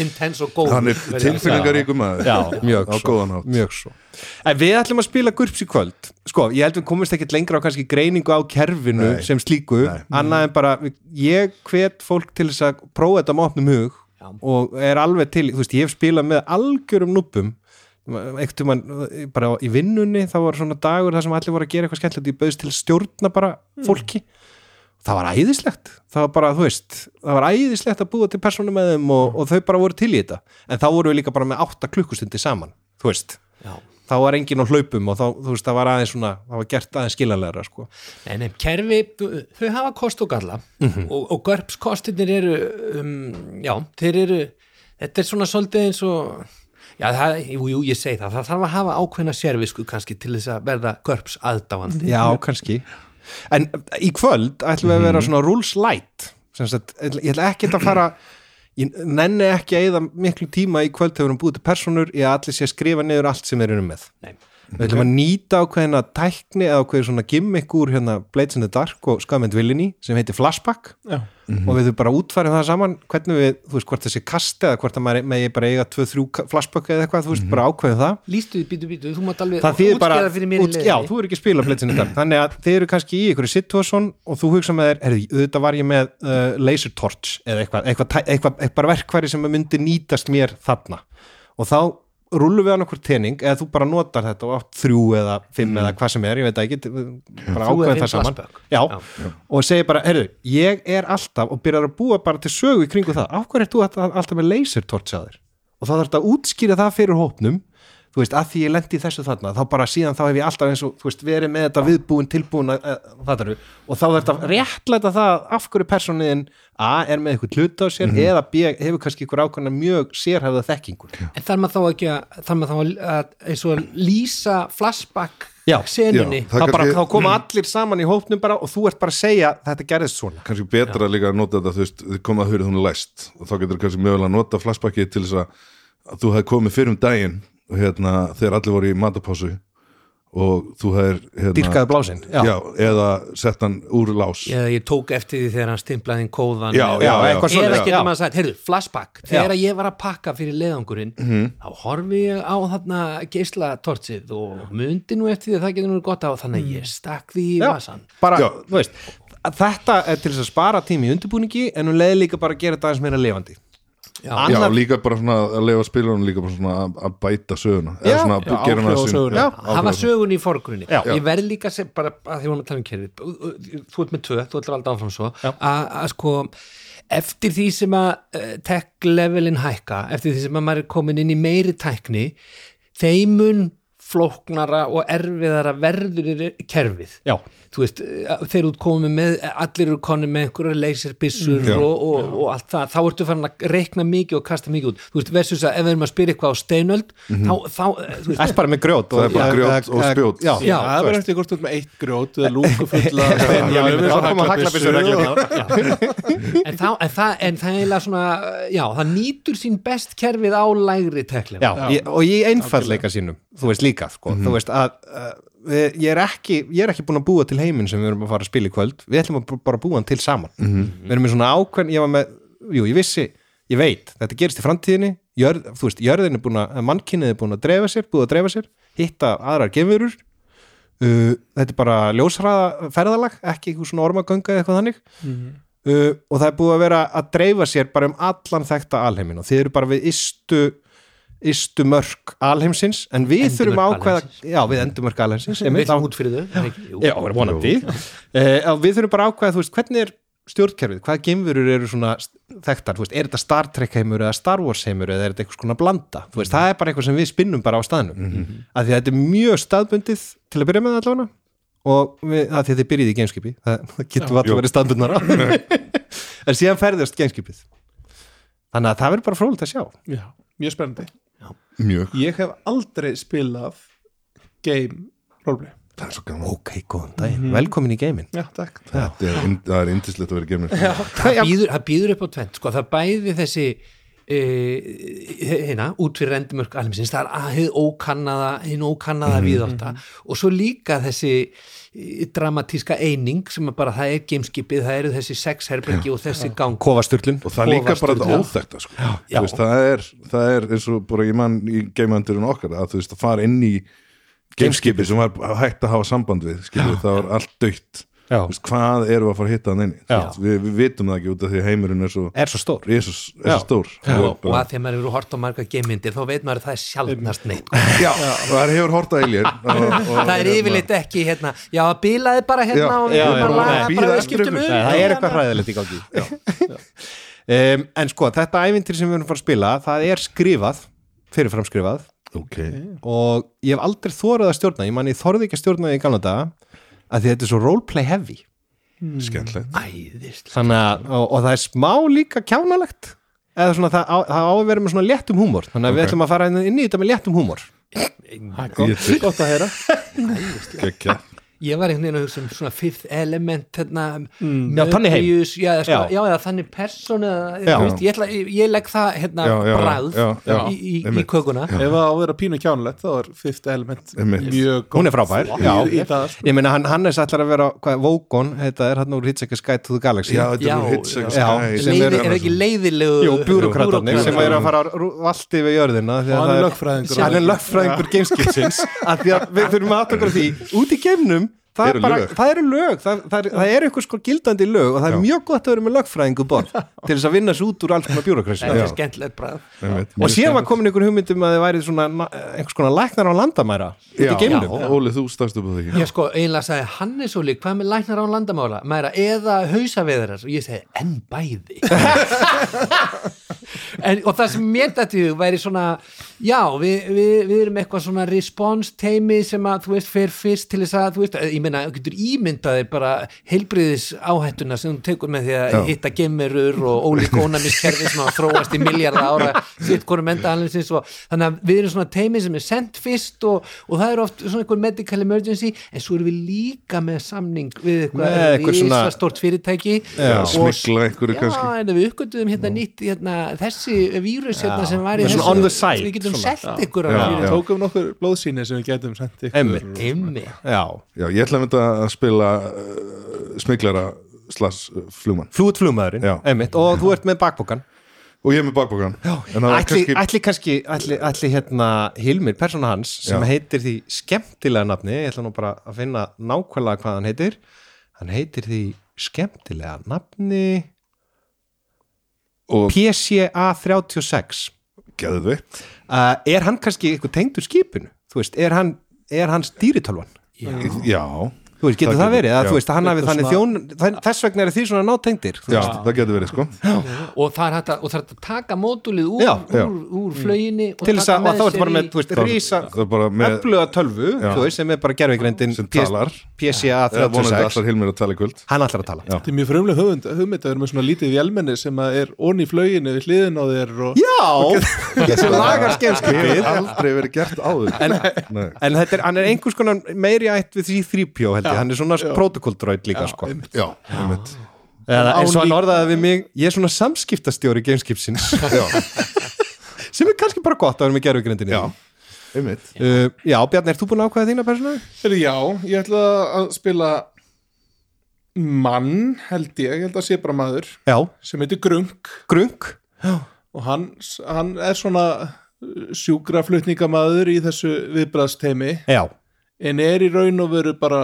S1: intense og góð
S2: hann er tilfinningaríkum maður
S3: Já, mjög
S2: á
S3: svo,
S2: góðan hátt
S3: mjög svo En við ætlum að spila GURPS í kvöld Sko, ég held við komumst ekkit lengra á kannski greiningu á kerfinu
S2: Nei.
S3: sem slíku
S2: Nei.
S3: annað en bara, ég hvet fólk til þess að prófa þetta með opnum hug
S1: Já.
S3: og er alveg til, þú veist, ég hef spilað með algjörum núpum ekkert um bara í vinnunni þá var svona dagur þar sem allir voru að gera eitthvað skemmtilegt ég bauðist til að stjórna bara fólki það var æðislegt það var bara, þú veist, það var æðislegt að búa til persónum með þeim og, og þau bara voru til í þetta en þá voru við líka bara með 8 klukkustundi saman þú veist,
S1: Já.
S3: þá var enginn á hlaupum og þá, þú veist, það var aðeins svona það var gert aðeins skilanlegra, sko
S1: En ef kerfi, þau- þau hafa kost og galla og, og görpskostinir eru, um, já, þeir eru, þetta er svona svolítið eins og, já, það, jú, jú, ég segi það, það þarf að hafa ákveðna sérvisku kannski til þess að verða görps aðdáandi.
S3: já, kannski en í kvöld ætlum við að vera svona rules light sem sagt, ég ætla ekki að fara ég nenni ekki að eða miklu tíma í kvöld þegar við erum búið til personur í að allir sé að skrifa niður allt sem við erum með
S1: Nei,
S3: við ætlum að nýta ákveðina tækni eða ákveðin svona gimmick úr hérna Blades in the Dark og Skamend Villini sem heitir Flashback
S4: Já.
S3: og við þurfum bara að útfæra það saman hvernig við, þú veist, hvort þessi kasti eða hvort að maður megi bara eiga 2-3 flashback eða eitthvað, þú veist, bara ákveðum það
S1: lístu, býtu, býtu, þú mátt alveg
S3: það þýðir bara,
S1: útskýra fyrir mér
S3: út- já, þú er ekki að spila Blades in the Dark, þannig að þið eru kannski í ykkur situasjón og þú hugsa með þér, herði, auðvitað var ég með uh, laser torch eða eitthvað, eitthvað, eitthvað, eitthvað, eitthvað verkværi sem myndi nýtast mér þarna og þá rúlum við á nokkur tening eða þú bara notar þetta og átt þrjú eða fimm eða hvað sem er, ég veit ekki bara
S1: Þrjú eða
S3: ákveðum
S1: fimm
S3: það saman
S1: flashback.
S3: já,
S1: Já.
S3: og segir bara, herðu, ég er alltaf og byrjar að búa bara til sögu í kringu það af hverju ert þú alltaf, alltaf með lasertortsaður og þá þarf þetta að útskýra það fyrir hópnum þú veist, að því ég lendi í þessu þarna þá bara síðan þá hef ég alltaf eins og, þú veist, verið með þetta viðbúin, tilbúin að, að, það eru, og þá þarf þetta að réttlæta það af hverju persóniðin A er með eitthvað hlut á sér
S2: Mhm.
S3: eða B hefur kannski ykkur ákvæmna mjög sérhæfða þekkingu
S1: En þarf maður þá ekki að, þarf maður þá að, að, eins og að lýsa flashback
S3: Já.
S1: senunni.
S2: Já,
S3: þá, bara,
S2: Það kannski- Mhm.
S3: þá koma allir saman í hópnum bara og þú ert bara að segja þetta gerðist svona
S2: kannski betra líka að nota þetta þú veist, þið komað að hurð hún er læst og þá getur kannski mögulega að nota flashbackið til þess að, að þú hefði komið fyrir um daginn og hérna, þegar allir voru í matapásu og þú hefur hérna,
S3: dýrkaði blásinn
S2: já. eða sett hann úr lás
S1: eða ég tók eftir því þegar hann stimplaði inn kóðan
S2: Já,
S1: eða-
S2: já,
S3: eitthvað
S1: eða
S3: svoleiðis, já.
S1: getur maður sagt, heyrðu, flashback þegar ég var að pakka fyrir leiðangurinn
S3: Mhm.
S1: þá horfi ég á þarna geislatortið og mundi nú eftir því að það getur nú gott á þannig að ég stakk því í
S3: Mhm. Já,
S1: vasan
S3: bara,
S2: Já.
S3: þú veist að þetta er til þess að spara tími í undirbúningi en hún leiði líka bara að gera þetta aðeins meira levandi
S1: Já.
S2: Já,
S3: Annar,
S2: líka bara svona að leifa spilunum líka bara svona að- að bæta söguna eða
S3: Já.
S2: svona
S4: Já,
S2: að gera hana
S4: áhrifa á söguna.
S2: söguna
S4: Já.
S1: hafa sögun í forgrunni
S3: Já.
S1: ég verð líka sem, bara að því vorum að tala um kerfið þú ert með tvö, þú ætlar alltaf áfram svo
S3: Já.
S1: að að sko eftir því sem að eh, tech levelin hækka, eftir því sem að maður er komin inn í meiri tækni þeimun flóknara og erfiðara verður er kerfið
S3: já,
S1: þú veist, eh, þeir út komið með eh, allir eru konið með einhverja leysirbissur
S3: Mm,
S2: Já.
S1: og, og, og allt það, þá ertu farin að reikna mikið og kasta mikið út, þú veist, versus að ef við erum að spyrja eitthvað á steinöld
S3: Mhm.
S1: þá, þá, eh, þú veist,
S3: ert bara með grjót
S2: Það er bara
S3: Já,
S2: grjót
S3: eða-
S2: og
S3: eða-
S2: spjót.
S3: já,
S1: Já,
S4: það verður eftir hvort þú ert með eitt grjót eða lúku fulla af
S3: já,
S4: steinvölum, eins og
S3: þá koma
S4: haglabyssu.
S3: haglabyssu reglurnar.
S1: en, þá, en, það, en það er eiginlega svona já, það nýtur sín best kerfið á lægri tekli
S3: Já, ég, og ég einfallleika sínum þú veist líka, sko, þú veist að uh, við- ég er ekki, ég er ekki búin að búa til heiminn sem við erum að fara að spila í kvöld við ætlum að bú- bara búa hann til saman við erum með svona ákveðn, ég var með, jú, ég vissi ég veit, þetta gerist í framtíðinni jörð, þú veist, jörðin er búin að, mannkynnið er búin að drefa sér, búið að drefa sér hitta aðrar gefurur uh, þetta er bara ljósræða ferðalag ekki eitthvað svona ormagönga eða eitthvað þannig uh, og það er búið að vera að dreifa sér bara um allan þekta alheimin og þið eru bara við istu istu mörk alheimsins en við
S1: Endimörk
S3: þurfum að ákveða
S1: alheimsins.
S3: já, við endumörk alheimsins
S1: sem
S3: einmitt,
S1: við
S3: þá-
S1: út fyrir þau er ekki? Jú.
S3: Já, er vonandi uh, Við þurfum bara að ákveða, þú veist, hvernig er stjórnkerfið, hvaða geimverur eru svona st- þekktar, þú veist, er þetta Star Trek heimur eða Star Wars heimur eða er þetta eitthvað svona blanda þú veist, það er bara eitthvað sem við spinnum bara á staðnum mm af því að þetta er mjög staðbundið til að byrja með allavega og við, af því að þið byrjið í gameskipi það, það getur alltaf verið staðbundnara en síðan ferðast gameskipið þannig að það verður bara frólægt að sjá
S4: Já, mjög spennandi
S2: mjög,
S4: ég hef aldrei spilað game roleplay
S2: það er svo gaman
S3: Ok, góðan daginn, Mhm. velkomin í geimin
S4: já, takk
S2: Það er ind- það er indislegt að vera gemur
S1: það býður, það býður upp á tvent sko, það bæði þessi e, hérna, út fyrir endimörk alheimsins, það er að hið ókannaða hinn ókannaða
S3: Mhm.
S1: mm og svo líka þessi eh, dramatíska eining sem að bara það er gameskipið, það eru þessi sex herbergi og þessi gang
S3: Kofasturlun
S2: og það er líka bara þetta óþekta sko.
S1: Já.
S2: Þú veist, það, er, það er eins og bara ég mann í geimandurinn okkar að þú veist að fara inn í gameskipi sem var hægt að hafa samband við skilur, það var allt dögt
S3: Já.
S2: hvað erum við að fara að hitta hann inn í? Þú
S3: Já.
S2: veist, við, við vitum það ekki út af því að heimurinn er svo,
S3: er svo stór
S2: er svo, er
S3: Já.
S2: svo stór
S1: og, og
S2: bara,
S1: að því að maður eru hort á marga geimyndir þá veit maður að það er sjaldnast neitt sko.
S2: já, það hefur horta eilir það
S1: það er yfirleitt ekki hérna já, bilaði bara hérna
S2: Já, já,
S1: og við
S3: já,
S1: bara
S3: bara
S1: laga
S2: bíða
S1: bara við
S2: eftir
S1: skiptum
S2: ykkur.
S1: um
S3: Nei, það er eitthvað hræðilegt í gangi um, En sko, þetta ævintir sem við erum að fara að spila það er skrifað, fyrirfram skrifað
S2: ok,
S3: og ég hef aldrei þórað að stjórna ég man ég þorði ekki að stjórna því í gamla daga að því þetta er svo roleplay heavy
S2: skemmtilegt
S1: æðislega
S3: þannig að, og, og það er smá líka kjánalegt eða svona það á, það á að vera með svona léttum húmor þannig að við
S2: Ok.
S3: ætlum að fara inn inn í þetta með léttum húmor
S2: Ég
S4: gott,
S2: til.
S4: gott að heyra
S2: Gekkja.
S1: ég var einhvern veginn að hugsa um svona fifth element hérna,
S3: Já, þannig heim.
S1: Möbius, já, eða sko,
S3: Já.
S1: já. já, eða þannig person eða,
S3: Já.
S1: þú veist, ég, ætla, ég, ég legg það hérna
S2: Já, já,
S1: bræð
S2: já, já,
S1: í, í, í
S2: einmitt.
S1: kökuna
S4: ef það á að vera pínu kjánulegt þá er fifth element
S2: Einmitt.
S4: mjög gott
S3: hún er frábær já.
S4: í, sko. í það
S3: ég meina hann, Hannes ætlar að vera hvað, Vogon, þetta er hann úr Hitchhiker's Guide to the Galaxy
S2: já, þetta
S1: Já,
S2: er hits
S1: já.
S3: Já,
S2: sem
S1: Leiði,
S2: er
S1: er ekki leiðilegu
S3: Jú, bjúrokratarnir sem
S1: bjúrókratar.
S3: eru að fara valdi við jörðina því að
S4: Og hann
S3: það
S4: er lögfræðingur.
S3: Hann er lögfræðingur gameskipsins af því að við þurfum að aðtökra því út í geimnum það,
S2: Eru
S3: er bara,
S2: lög.
S3: það eru lög það, það, er, það er eitthvað sko gildandi lög og það er mjög gott að vera með lögfræðingu um borð til þess að vinna svo út úr alls konar bjúrokrasi
S1: þetta er skemmtilegt bræð
S2: Einmitt,
S3: og
S2: mjög
S3: síðan var komin einhver hugmyndum að þið værið svona na- einhvers konar læknar á landamæra út í
S2: skemmtilegt. já,
S3: geimnum
S2: Óli, þú stafst upp á því
S1: ég sko einlega sagði Hannes Óli hvað með læknar án landamála mæra, eða hausaveðarar og ég segi enn bæði en, og það sem mér dætti í hug væri svona já við, við, við erum eitthvað svona response teimi sem að þú veist fer fyrst til þess að þú veist ég meina þú getur ímyndaði bara heilbriðis áhættuna sem þú tekur með því að
S2: Já.
S1: hitta gemmerur og ólíkónamiskerfi sem að þróast í miljardar ára sitt hvorum enda annarsins og þannig að við erum svona teimi sem er sendt fyrst og, og það er oft svona einhver medical emergency en svo erum við líka með samning við
S3: Með
S1: eitthvað
S3: eitthvað svona-
S1: risastort fyrirtæki
S3: Já.
S1: og
S2: smikla einhverju
S1: Já,
S2: kannski
S1: en við uppgötuðum hérna nýtt hérna, þessi vírus hérna
S3: Já.
S1: sem var í
S3: Svona
S1: þessu
S3: on the side,
S1: við getum
S3: svona.
S1: selt ykkur
S2: Já.
S1: af
S4: Við tókum um nokkur blóðsýni sem við getum sent ykkur
S3: Einmitt.
S1: Dimmi,
S3: já,
S2: Já, ég ætla að mynda að spila uh, smiklara slags uh, flugmann
S3: flúið flugmaðurinn
S2: Já.
S3: einmitt, og þú ert með bakbókan
S2: og ég er með bakbókan en það var
S3: ætli,
S2: kannski
S3: ætli kannski, ætli, ætli hérna Hilmir, persóna hans, sem
S2: Já.
S3: heitir því skemmtilega nafni, ég ætla nú bara að finna nákvæmlega hvað hann heitir hann heitir því skemmtilega nafni
S2: og
S3: PCA 36
S2: geðveitt
S3: uh, er hann kannski eitthvað tengdur skipinu þú veist, er hann, er hann stýritölvan
S2: Já,
S3: þú veist, getur
S2: Það
S3: það,
S2: getur-
S3: verið, að
S2: já.
S3: þú veist, að hann hafi
S4: Eitthvað
S3: þannig þjón þann- þess vegna eru því svona nátengdir þú
S2: já,
S3: veist.
S2: það getur verið sko
S1: og það er hægt að, og það er hægt að taka mótulið úr,
S3: Já,
S2: já.
S1: úr, úr flöginni og
S3: Mm. til þess að,
S1: taka
S3: og þá ertu
S1: sér
S3: bara
S1: í-
S3: með, þú veist,
S2: Það-
S3: rísa
S2: það er bara með
S3: öfluga tölvu,
S2: Já.
S3: þú veist, sem er bara gerfigreindin
S2: Sem talar.
S3: PCA
S2: eða vonandi
S3: 36
S2: allar Hilmir að tala í kvöld
S3: hann ætlar að tala
S2: Já.
S4: Þetta er mjög frumleg hugmynd, hugmynd að vera með svona lítið vélmenni sem að er onni í flöginu við hliðin á þér og
S3: já, þessi lagar
S2: Það
S3: skemmskipið
S2: hefur aldrei verið gert áður Nei.
S3: en þetta er, hann er einhvers konar meiri ætt við því þrýpjó held ég, hann er svona protokolldröð líka sko
S2: Já, einmitt
S3: eða eins og
S4: Án
S3: hann
S4: líka.
S3: orðaði við mig ég er svona samskiptastjóri gameskipsins sem er kannski bara gott að vera með gerfugrindinni
S2: Já, einmitt
S3: uh, já Bjarni, ert þú búin að ákvæða þína persónu?
S4: Heyrðu, Já, ég ætla að spila mann held ég, ég held að sé bara maður
S3: já,
S4: sem heitir Grunk
S3: grung
S4: og hann, hann er svona uh, sjúkraflutningamaður í þessu viðbræðsteimi
S3: já,
S4: en er í raun og veru bara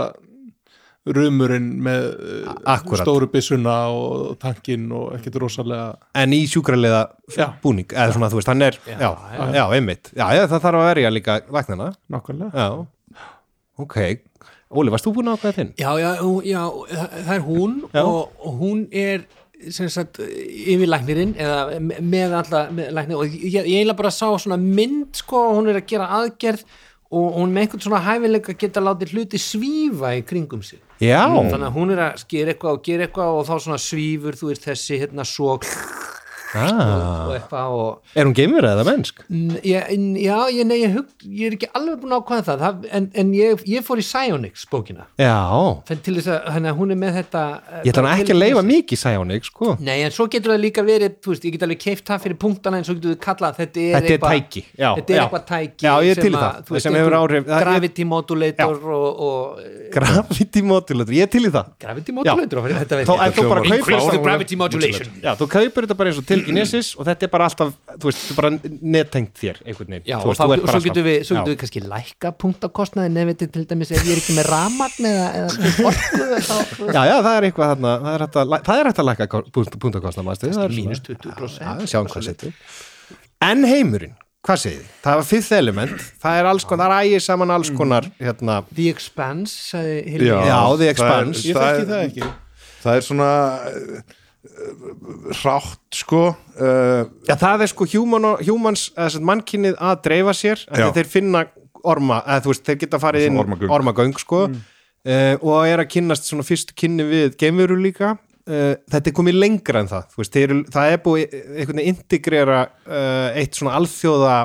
S4: rumurinn með eh,
S3: A- akkúrat.
S4: stóru byssuna og tankinn og ekkert rosalega
S3: en í sjúkraliða
S4: Já.
S3: búning eða svona þú veist, hann er, já, já, einmitt já, já, það þarf að verja líka vagnana
S4: nákvæmlega
S3: já, ok Óli, varst þú búin að ákvæða þinn?
S1: Já, já, hún- já, það það er hún og, og hún er sem sagt yfirlæknirinn eða me- með alla með læknir og ég, ég eiginlega bara sá svona mynd sko og hún er að gera aðgerð og hún með einhvern svona hæfileika geta látið hluti svífa í kringum sig
S3: já,
S1: þannig að hún er að skera eitthvað og gera eitthvað og þá svona svífur þú veist þessi hérna svo og
S3: ah.
S1: eitthvað og
S3: er hún geimur eða mennsk?
S1: Mm, ég- en- Já, ég, nei, ég, hug, ég er ekki alveg búin að ákvæða það, það en, en ég, ég fór í Psionics bókina
S3: já,
S1: Þannig til þess að þannig að hún er með þetta eh,
S3: ég ætla
S1: bara
S3: hann ekki
S1: til-
S3: að leifa mikið sæjónik, sko
S1: Nei, en svo getur það líka verið, þú veist, ég get alveg keift það fyrir punktana en svo getur við kallað, þetta er,
S3: Þetta er
S1: eitthvað-
S3: tæki, já,
S1: þetta er
S3: já.
S1: eitthvað tæki
S3: Já, ég er
S1: sem
S3: til í
S1: að,
S3: það,
S1: þú veist,
S3: sem hefur
S1: einhver
S3: áhrif- það- ég-
S1: Gravity modulator og, og eh,
S3: Gravity modulator, ég er til í það
S1: Gravity modulator, fyrir þetta veit
S3: Þá-
S1: ég
S3: en þú bara
S2: Hljómar-
S3: kaupir
S1: Increase the
S3: þá-
S1: gravity modulation
S3: Já, þú kaupir þetta bara eins og til Genesis og þetta er bara alltaf, þú veist, bara nettengt þér einhvern veginn.
S1: Já,
S3: Þú
S1: og
S3: veist,
S1: þá,
S3: þú ert
S1: og svo
S3: bara
S1: getum við, svo
S3: alltaf-
S1: getum við kannski lækka punktakostnaðin ef þetta til dæmis ef ég er ekki með ramagn eða, eða orku eða þá, þú veist,
S3: Já, já, það er eitthvað þarna, það er hægt að, læ- það er hægt að lækka punktakostna, maður stuð.
S1: mínus 20%.
S3: Já, já, sjáum hvað setur. En heimurinn, hvað segir þið? Það var fifth element, það er alls konar, það ægir saman alls konar, hérna,
S1: The Expanse, sagði Hilmi
S3: Já, The
S2: það er-
S3: Expanse.
S4: Ég
S2: það
S4: þekki
S2: er-
S4: það ekki
S2: Það er svona uh, uh, hrátt sko uh,
S3: já, það er sko human, humans, eða sem sagt, mannkynið að dreifa sér, af því
S2: Já.
S3: að þeir finna orma, eða þú veist, þeir geta farið inn
S2: Svona ormagöng.
S3: ormagöng sko, uh, og er að kynnast svona fyrstu kynni við geimveru líka uh, þetta er komið lengra en það þú veist, þeir, eru- það er búið einhvern veginn integrera uh, eitt svona alþjóða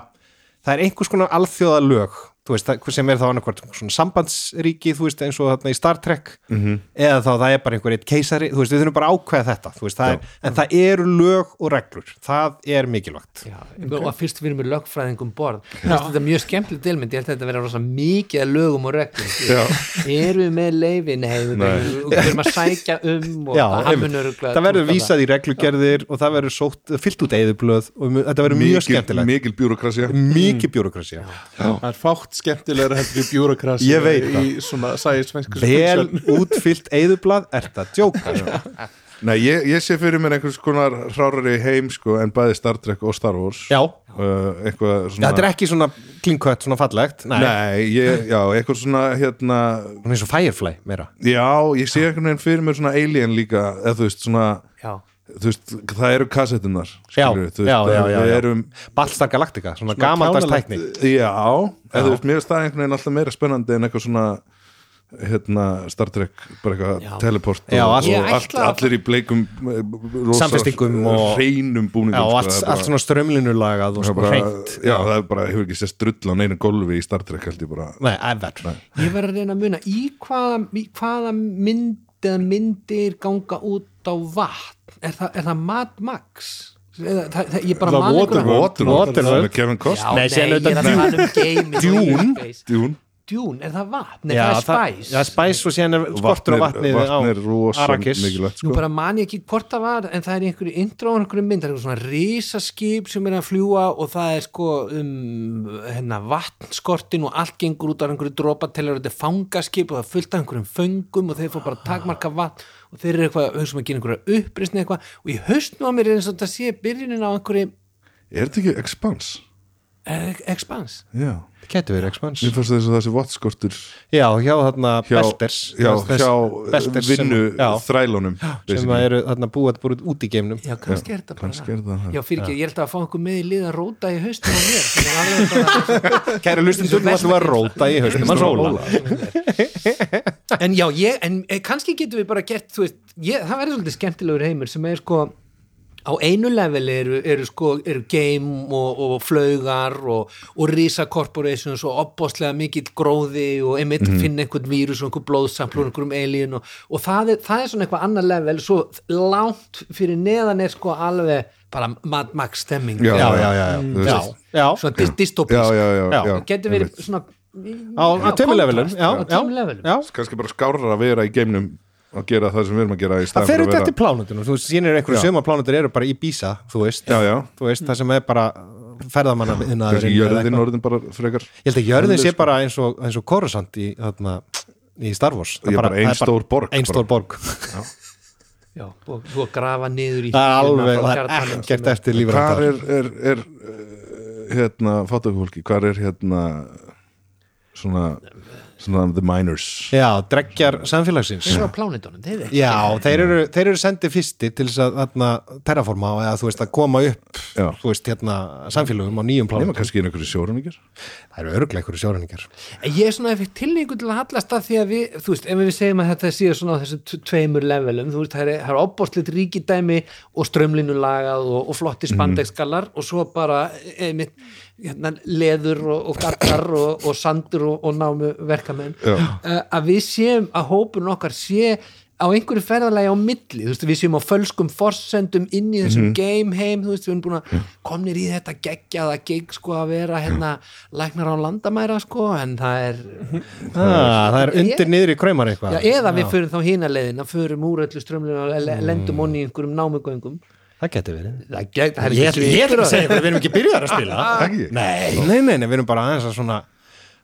S3: það er einhvers konar alþjóða lög þú veist, það- sem er þá annarkvort svona sambandsríki, þú veist, eins og þarna í Star Trek -hmm. eða þá það er bara einhver eitt keisari þú veist, við þurfum bara að ákveða þetta þú veist, það er, en það eru lög og reglur það er mikilvægt
S1: Já, og að fyrst við erum með lögfræðingum borð Mér finnst þetta er mjög skemmtilegt delmynd ég held að þetta vera rosa mikið að lögum og reglum erum við með leifi nei, við við erum að sækja um og
S3: Já,
S1: það
S3: einmitt.
S1: mun örugglega
S3: það verður
S1: túlka
S3: vísað í reglugerðir og það verður sótt, fyllt út eðublöð og mu- þetta verður mjög skemmtilegt mikil,
S2: Mikil bjúrokrasja
S1: Mm.
S3: mikil bjúrokrasi
S4: Það er fátt skemmtilegur heldur í bjúrokrasi
S3: Ég veit
S4: í
S3: það.
S4: svona science fiction
S3: vel útfyllt eðublað er það djóka sko.
S2: Nei, ég, ég sé fyrir mér einhvers konar hrárari heim sko en bæði Star Trek og Star Wars
S3: já,
S2: uh, eitthvað
S3: Já,
S2: svona
S3: þetta er ekki svona klinkött, svona fallegt nei, nei.
S2: Nei, ég, já, eitthvað svona hérna,
S3: hún er svo Firefly meira
S2: já, ég sé einhvern veginn fyrir mér svona alien líka, eða þú veist svona
S1: Já.
S2: þú veist, það eru kassettunar skilur,
S3: Já, já, já, já,
S2: við
S3: já.
S2: erum
S3: Battlestar Galactica, svona gamaldags
S4: kjánalegt-
S3: tækni
S2: eh, já, eða þú veist, mér er það einhvern veginn alltaf meira spennandi en eitthvað svona hérna, Star Trek, bara
S1: Já.
S2: eitthvað teleport og,
S3: Já, allt-
S2: og
S1: Ég
S2: allt,
S1: ætla að-
S2: allir í bleikum eh, rosa-
S3: Samfestingum og-
S2: hreinum búningum
S3: Já, og
S2: sko,
S3: allt,
S2: það er bara-
S3: allt svona strömlinulagað og
S2: það er
S3: sko
S2: bara-
S3: hreint
S2: já, það er bara, hefur ekki sést drull á neinu gólfi í Star Trek held ég bara
S3: Nei, ever
S1: ég verður að reyna að muna í hvaða, í hvaða mynd eða myndir ganga út á vatn er það, er það Mad Max? eða, það, það, ég bara
S4: Það
S1: man einhverja-
S4: Waterworld.
S2: Waterworld
S5: Waterworld.
S2: með Kevin
S1: Já,
S5: Nei,
S2: Costner
S1: nei,
S5: síðan
S1: ég er að
S5: auðvitað
S1: tala um game
S2: Dune. Dune
S1: Dune, er það vatn? Nei,
S3: Já,
S1: það er spæs
S3: það er spæs og síðan er skortur á vatnið á
S2: vatn er rosa
S3: Arrakis.
S2: mikilvægt
S1: Nú
S2: sko.
S1: bara man ég ekki hvort það var en það er í einhverju intro á einhverju mynd það er einhverju svona risaskip sem er að fljúa og það er sko um hennar vatnskortin og allt gengur út af einhverju dropatellar og þetta er fangaskip og það er fullt af einhverjum föngum og þeir fór bara að takmarka vatn og þeir eru eitthvað, hugsaum að gera einhverju upprisni eitthvað og í haustnum á mér er eins og þetta sé byrjunin á einhverju
S2: er þetta ekki Expanse?
S1: eh, expans
S2: já,
S3: Kættu verið X-Mans
S2: mér fannst þess að þessi vatnskortur
S3: Já, hjá þarna
S2: hjá,
S3: Belters
S2: já,
S3: þess-
S2: hjá
S3: Belters sem-
S2: vinnu
S3: já,
S2: þrælunum
S3: sem að eru þarna búið að búið út í geimnum
S1: Já, kannski er þetta bara
S2: kannski er það það.
S1: Já, fyrir ekki, ég held að fá einhver með í liða róta í haustum á mér sem er alveg bara
S3: Kæru lustendur, nú ætlum við að róta í haustum hans Óla
S1: en já, ég, en eh, kannski getum við bara gert, þú veist, ég, það verður svolítið skemmtilegur heimur sem er sko á einu leveli eru, eru sko eru game og, og flaugar og, og risa corporations og opbóðslega mikill gróði og einmitt
S2: Mhm.
S1: finna einhvern vírus og einhvern blóðsamplur og einhverjum alien og, og það, er, það er svona eitthvað annar level svo langt fyrir neðan er sko alveg bara Mad Max stemming
S2: já, já, já,
S3: Já, já,
S2: já
S3: já,
S1: svona dys- dystopísk
S2: já, já, já,
S3: Já.
S2: já,
S1: getur verið
S2: einmitt.
S1: svona
S3: á, á tveimurlevelum
S1: kontrast,
S3: Já,
S1: á
S3: já,
S1: tveimur levelum.
S3: já
S2: kannski bara skárra að vera í geimnum að gera það sem við erum að gera í
S3: Það
S2: staðan
S3: fer
S2: fyrir
S3: út
S2: að
S3: eftir plánutunum, þú veist, sínir einhverju
S2: Já.
S3: söma plánutur eru bara í Bísa, þú veist
S2: Já, já.
S3: Þú veist, það sem er bara ferðamanna
S2: kannski jörðin sko. orðin bara frekar
S3: Ég held að jörðin sé bara eins og, eins og Coruscant í, þarna, í Star Wars Það
S2: Ég er bara ein
S3: það er
S2: stór borg
S3: Ein
S2: bara.
S3: stór borg
S1: Já, og svo grafa niður í
S3: Það er alveg,
S1: hilluna frá
S3: það er
S1: hjartanum
S3: ekkert
S1: sem
S3: eftir lífur
S2: hvar er, er, er uh, hérna, fátöku fólki, hvar er hérna svona svona the miners
S3: Já, dreggjar samfélagsins
S1: Þeir eru á plánetunum, þeir ekki
S3: Já, þeir eru, þeir eru sendið fyrsti til þess að þarna, terraforma eða þú veist að koma upp
S2: já,
S3: þú veist hérna samfélögum á nýjum
S2: nema
S3: plánutum
S2: kannski einhverju sjórumingar
S3: Það eru örglega einhverju sjóræningar
S1: En Ég er svona eftir tilningu til að hallast að því að við, þú veist, ef við segjum að þetta séu svona á þessum t- tveimur levelum, þú veist, það er, það er opbóðslit ríkidæmi og strömlinulagað og, og flotti
S3: Mhm.
S1: spandegskallar og svo bara, eh, einmitt, hérna, leður og, og gattar og, og sandur og, og námu verkamenn,
S2: Já.
S1: Eh, að við séum, að hópurinn okkar sé á einhverju ferðalagi á milli, þú veist, við séum á fölskum forsendum inn í
S3: Mhm.
S1: þessum game heim, þú veist, við erum búin að komnir í þetta geggjaða gig, sko, að vera hérna læknar á landamæra, sko, en það er,
S3: ah, Það er undir niður í kræmar eitthvað
S1: já, eða við förum þá hína leiðina, förum úr öllu strömlinu og le-
S3: Mm.
S1: lendum onni í einhverjum námugöngum.
S3: Það geti verið
S1: Það er gegn, það er
S3: Ég ætla ég ætla
S1: svikur
S3: ekki
S1: á
S3: að segja ykkur að við erum ekki byrjaðar að spila
S2: Ekki?
S3: nei, nei, nei, nei, við erum bara aðeins að svona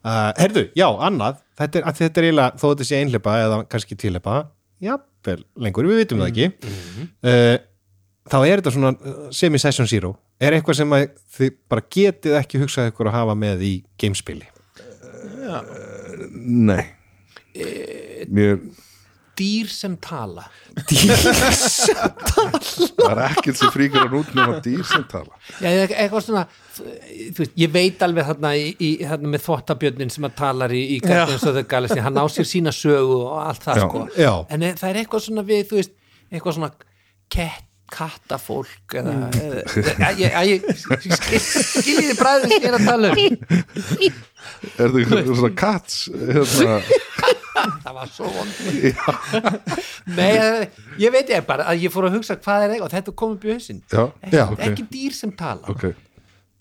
S3: uh, Herðu, já, annað Þetta er, að þetta er eiginlega, þó þetta sé einhleipa eða kannski tvíleipa Jafnvel, lengur, við vitum það ekki uh, Þá er þetta svona uh, semi-session zero Er eitthvað sem að þið bara getið ekki hugsað ykkur að hafa með í gamespili
S2: nei
S3: Eh,
S2: mér,
S1: dýr sem tala.
S2: það er ekkert sem fríkar hann út nema dýr sem tala
S1: Já, eða eitthvað svona, þú veist, ég veit alveg þarna, í, í, þarna með þvottabjörnin sem að talar í, í Guardians of the Galaxy, hann á sér sína sögu og allt það,
S2: Já.
S1: sko.
S3: Já.
S1: En e- það er eitthvað svona við, þú veist, eitthvað svona kett, kattafólk eða, eða, eða, eða, eða skil, skiljiði bræðið sem ég er að tala um
S2: er það einhverjum svona kats hérna,
S1: það var svo vond Nei, eða, ég veit ég bara að ég fór að hugsa hvað er eitthvað, þetta kom upp í hausinn
S2: já,
S1: ekki,
S3: Já,
S2: ok.
S1: ekki dýr sem tala
S2: ok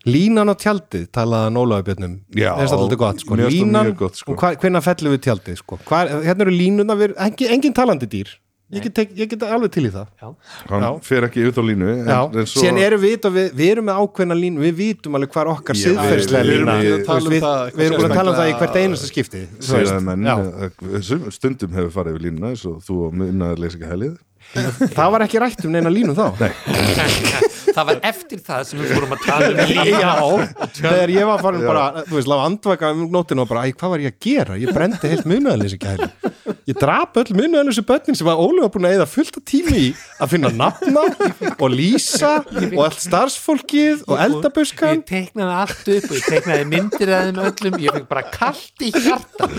S3: Línan og tjaldið talaði Nólaðubjörnum
S2: Já,
S3: er svolítið gott sko.
S2: mér finnst það
S3: Línan,
S2: mjög gott, sko.
S3: og hva, hvenna fellum við tjaldið sko. hva, Hérna eru línuna, við, engin, engin talandi dýr ég get, tek, ég get alveg til í það
S1: Já.
S2: hann
S3: Já.
S2: fer ekki út á línu en,
S3: Já,
S2: en svo,
S3: síðan erum við, og við, við erum með ákveðna línu við vitum alveg hvað er okkar
S2: Ég-
S3: siðferðslega
S2: við- við-
S3: lína Þú
S2: við-
S3: veist,
S4: við-
S3: við við erum búin að tala um það í hvert
S4: sérstaklega-
S3: einasta skipti þú
S2: segja
S3: veist.
S2: menn,
S3: Já.
S2: eh, sum- stundum hefur farið yfir línuna eins og þú og minnaður leysa ekki helið
S3: það var ekki rætt um neina línu þá
S1: það var eftir það sem við fórum að tala um
S3: já, þegar ég var farin bara þú veist, láfa andvaka um nótinu og bara æ, hvað var ég að gera, ég brendi heilt munaðalysi kæli ég drap öll munaðalysi börnin sem var ólega búin að eða fullt af tími í að finna nafna og lýsa og allt starfsfólkið og eldabuskan
S1: ég teiknaði allt upp og ég teiknaði myndir að þeim öllum ég fekk bara kallt í hjarta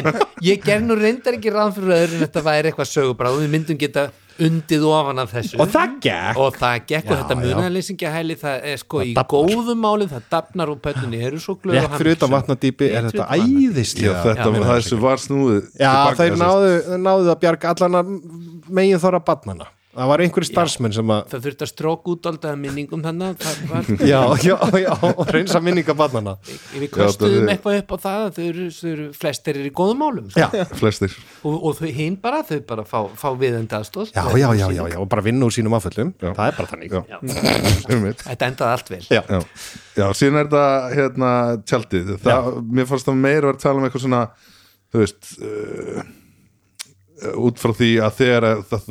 S1: en ég ger nú reyndar ekki ráð fyrir öðru en þetta væri eitthvað sögubráð við myndum geta undið ofan af þessu
S3: og það gekk
S1: og það gekk og
S3: Já,
S1: þetta
S3: já.
S1: munarleysingahæli það er sko í
S3: dafnar.
S1: góðum málum það dafnar og pötnunni eru svo glöð
S3: rétt fyrir utan vatnadýpi er
S1: Rétt
S3: þetta
S1: fyrir utan
S2: Já,
S3: æðislega
S2: þetta var það sem var snúið
S3: Já,
S2: tilbaka,
S3: þeir
S2: sem sagt.
S3: náðu, náðu að bjarga allana megin þorra barnana það var einhverju starfsmenn sem að
S1: það þurfti að stróka út alltaf minningum þannig það var,
S3: já, já, já, og reynsa minninga barnana
S1: við kostuðum
S2: þetta er-
S1: eitthvað upp á það að þau eru, þau eru flestir eru í góðum málum sko.
S3: já,
S2: flestir
S1: og, og þau hinn bara, þau bara fá, fá viðend aðstóð
S3: já, já, já, já, já, og bara vinna úr sínum afföllum
S2: Já.
S3: það er bara þannig
S2: Já. einmitt
S1: þetta endaði allt vel
S3: Já.
S2: já. já, síðan er þetta hérna tjaldið, það, mér fannst það meira vera að tala um eitthvað svona þú veist uh, út frá því að þegar að það,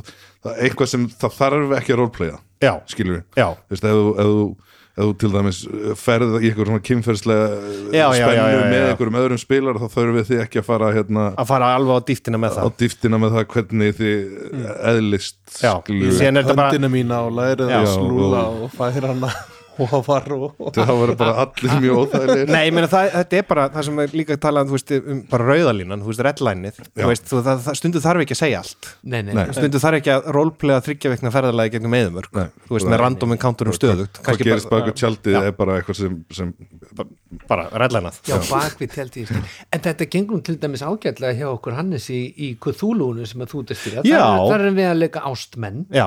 S2: það, eitthvað sem það þarf ekki að roleplaya
S3: já,
S2: skilur við,
S3: já,
S2: þú veist, ef þú- ef þú ef þú til dæmis uh, ferð í eitthvað svona kynferðslega
S3: Já,
S2: uh,
S3: já, já,
S2: spennu
S3: já, já,
S2: með
S3: já.
S2: einhverjum öðrum spilar þá þurfum við því ekki að fara hérna
S3: að fara alveg á dýftina með
S2: á
S3: það
S2: dýftina með það hvernig þið eh, eðlist
S3: Mm. já,
S2: skilur við.
S3: síðan er þetta bara
S4: höndina mína og lærið að
S2: Já,
S4: slúla og færa hana og að fara og
S2: það var bara allir mjög óþægilegir
S3: Nei, ég meina það, þetta er bara það sem er líka talað um, þú veist, um bara rauðalínan, þú veist, reddlænið þú veist, þú, það, það, stundu þarf ekki að segja allt
S1: nei, nei,
S2: Nei.
S3: stundu þarf ekki að rólplega þryggja vekna ferðalagi gegnum meðumörk,
S2: Nei.
S3: þú veist, með random encounterum stöðugt,
S2: hvað
S3: kannski
S2: gerist
S3: bara,
S2: baka tjaldið
S3: Já.
S2: er bara eitthvað sem, sem
S3: bara reddlænað
S1: Já, bakvið telt ég En þetta gengur nú til dæmis ágætlega hjá okkur Hannes í, í Cthulhu-unu sem að þú destýra
S3: Já.
S1: Þar erum við að leika ástmenn
S3: Já,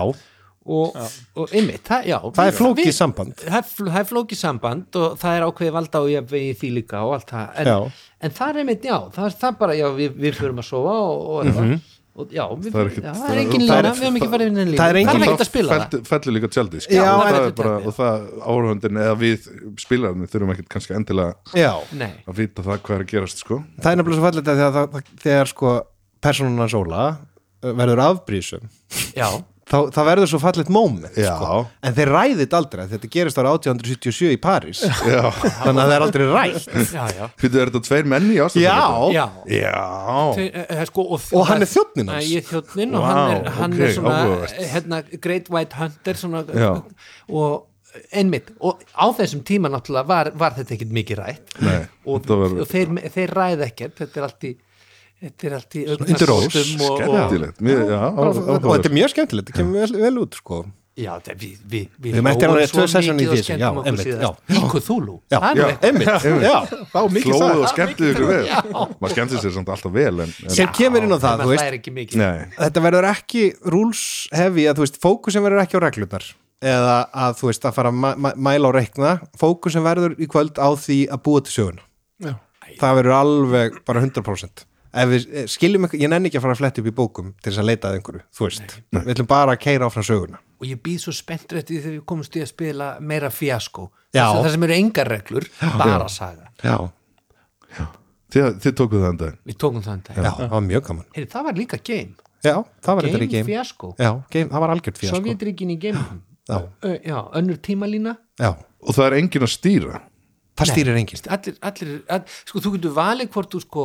S1: og, og einmitt, það, já
S3: það er flókið
S1: við-
S3: samband
S1: Það er, fl- það er flókið samband og það er ákveðið valda og ég vegi því líka og allt það
S3: Já.
S1: en, en það er einmitt, já, það er það bara já, við, við förum að sofa og, og,
S3: Mhm.
S1: og já, við,
S2: Það er ekkit-
S1: já, það er engin
S2: það er-
S1: lína, við hefum ekki farið inn í lína
S3: það er engin-
S1: það er
S2: þá
S1: ekkert að spila það
S2: fellur- fellur líka tjaldið
S3: Já,
S2: já, og,
S1: það
S2: það
S1: er
S2: er bara,
S1: tjaldið.
S2: og það áhörfundin eða við spilarnir þurfum ekkit kannski endilega
S3: Já,
S1: Nei,
S2: að vita það hvað er að gerast sko.
S3: það er nefnilega svo fallið þegar, það- það- þegar sko persónuna sóla uh, verður afbrísum
S1: já,
S3: þá, það verður svo fallið moment
S2: Já.
S3: sko. en þeir ræðið aldrei, þetta gerist ára 1877 í París þannig að það er aldrei rætt
S1: já, já
S2: Fyrir er þetta tveir menni í
S3: Já,
S2: ástæðan?
S1: Já,
S2: Já,
S1: Þau, eh, eh, sko, og,
S3: Og hann er þjónninn hans?
S1: Ég er þjóttnin og
S2: Vá,
S1: hann er, hann
S2: ok,
S1: er svona
S2: áhugavert.
S1: hérna, Great White Hunter svona,
S2: Já.
S1: og einmitt og á þessum tíma náttúrulega var, var þetta ekkert mikið rætt
S2: Nei,
S1: og,
S2: þetta var-
S1: og þeir, þeir ræð ekkert þetta er allt í þetta er allt í
S3: undir rós,
S1: augnagotum og- og-
S2: skemmtilegt Mér- Já,
S3: bara, og þetta er
S2: áhörfund
S3: mjög skemmtilegt, þetta kemur vel, vel út sko.
S1: Já, þetta er- við, við, við,
S3: Við mættum
S1: hlógum
S3: alveg
S1: svo
S3: tvö session í
S1: mikið og
S3: þessu, já,
S1: skemmtum okkur
S3: einmitt,
S1: síðast.
S3: já.
S1: Í Cthulhu,
S3: Já,
S1: það er nú
S3: já,
S1: eitthvað
S3: einmitt, já
S4: þá mikið
S2: Flóðu
S4: sagði
S2: og skemmtið ykkur vel
S1: Já.
S2: Maður skemmtir sér samt alltaf vel en, en,
S3: sem kemur inn á það,
S1: það
S3: þú
S1: veist,
S3: veist
S1: er ekki mikið
S2: Nei,
S3: þetta verður ekki rules heavy að þú veist, fókusin verður ekki á reglunar eða að þú veist, að fara að ma- ma- mæla og rekna, fókusin verður í kvöld á því að búa til söguna
S4: Já.
S3: það verður alveg bara 100% ef við eh, skiljum eitthvað, ég nenni ekki að fara að fletta upp í bókum til þess að leita að einhverju, þú veist við ætlum bara að keira áfram söguna
S1: og ég býð svo spenntur eftir því þegar við komumst í að spila meira fjasko
S3: Já.
S1: það sem eru engar reglur, bara saga
S3: já,
S2: þið, þið tókuð það enda
S1: við tókum þann dag
S3: já, það var mjög gaman
S1: Heyri, það var líka game,
S3: já, það var eitthvað í
S1: game
S3: game
S1: fjasko
S3: já, game, það var algjört fyrir sko.
S1: sovjetrikin í game
S3: Já.
S1: Ö, já, önnur tímalína
S3: já,
S2: Og það er enginn að stýra
S3: það stýrir engin
S1: allir, allir, all, sko þú getur valið hvort þú sko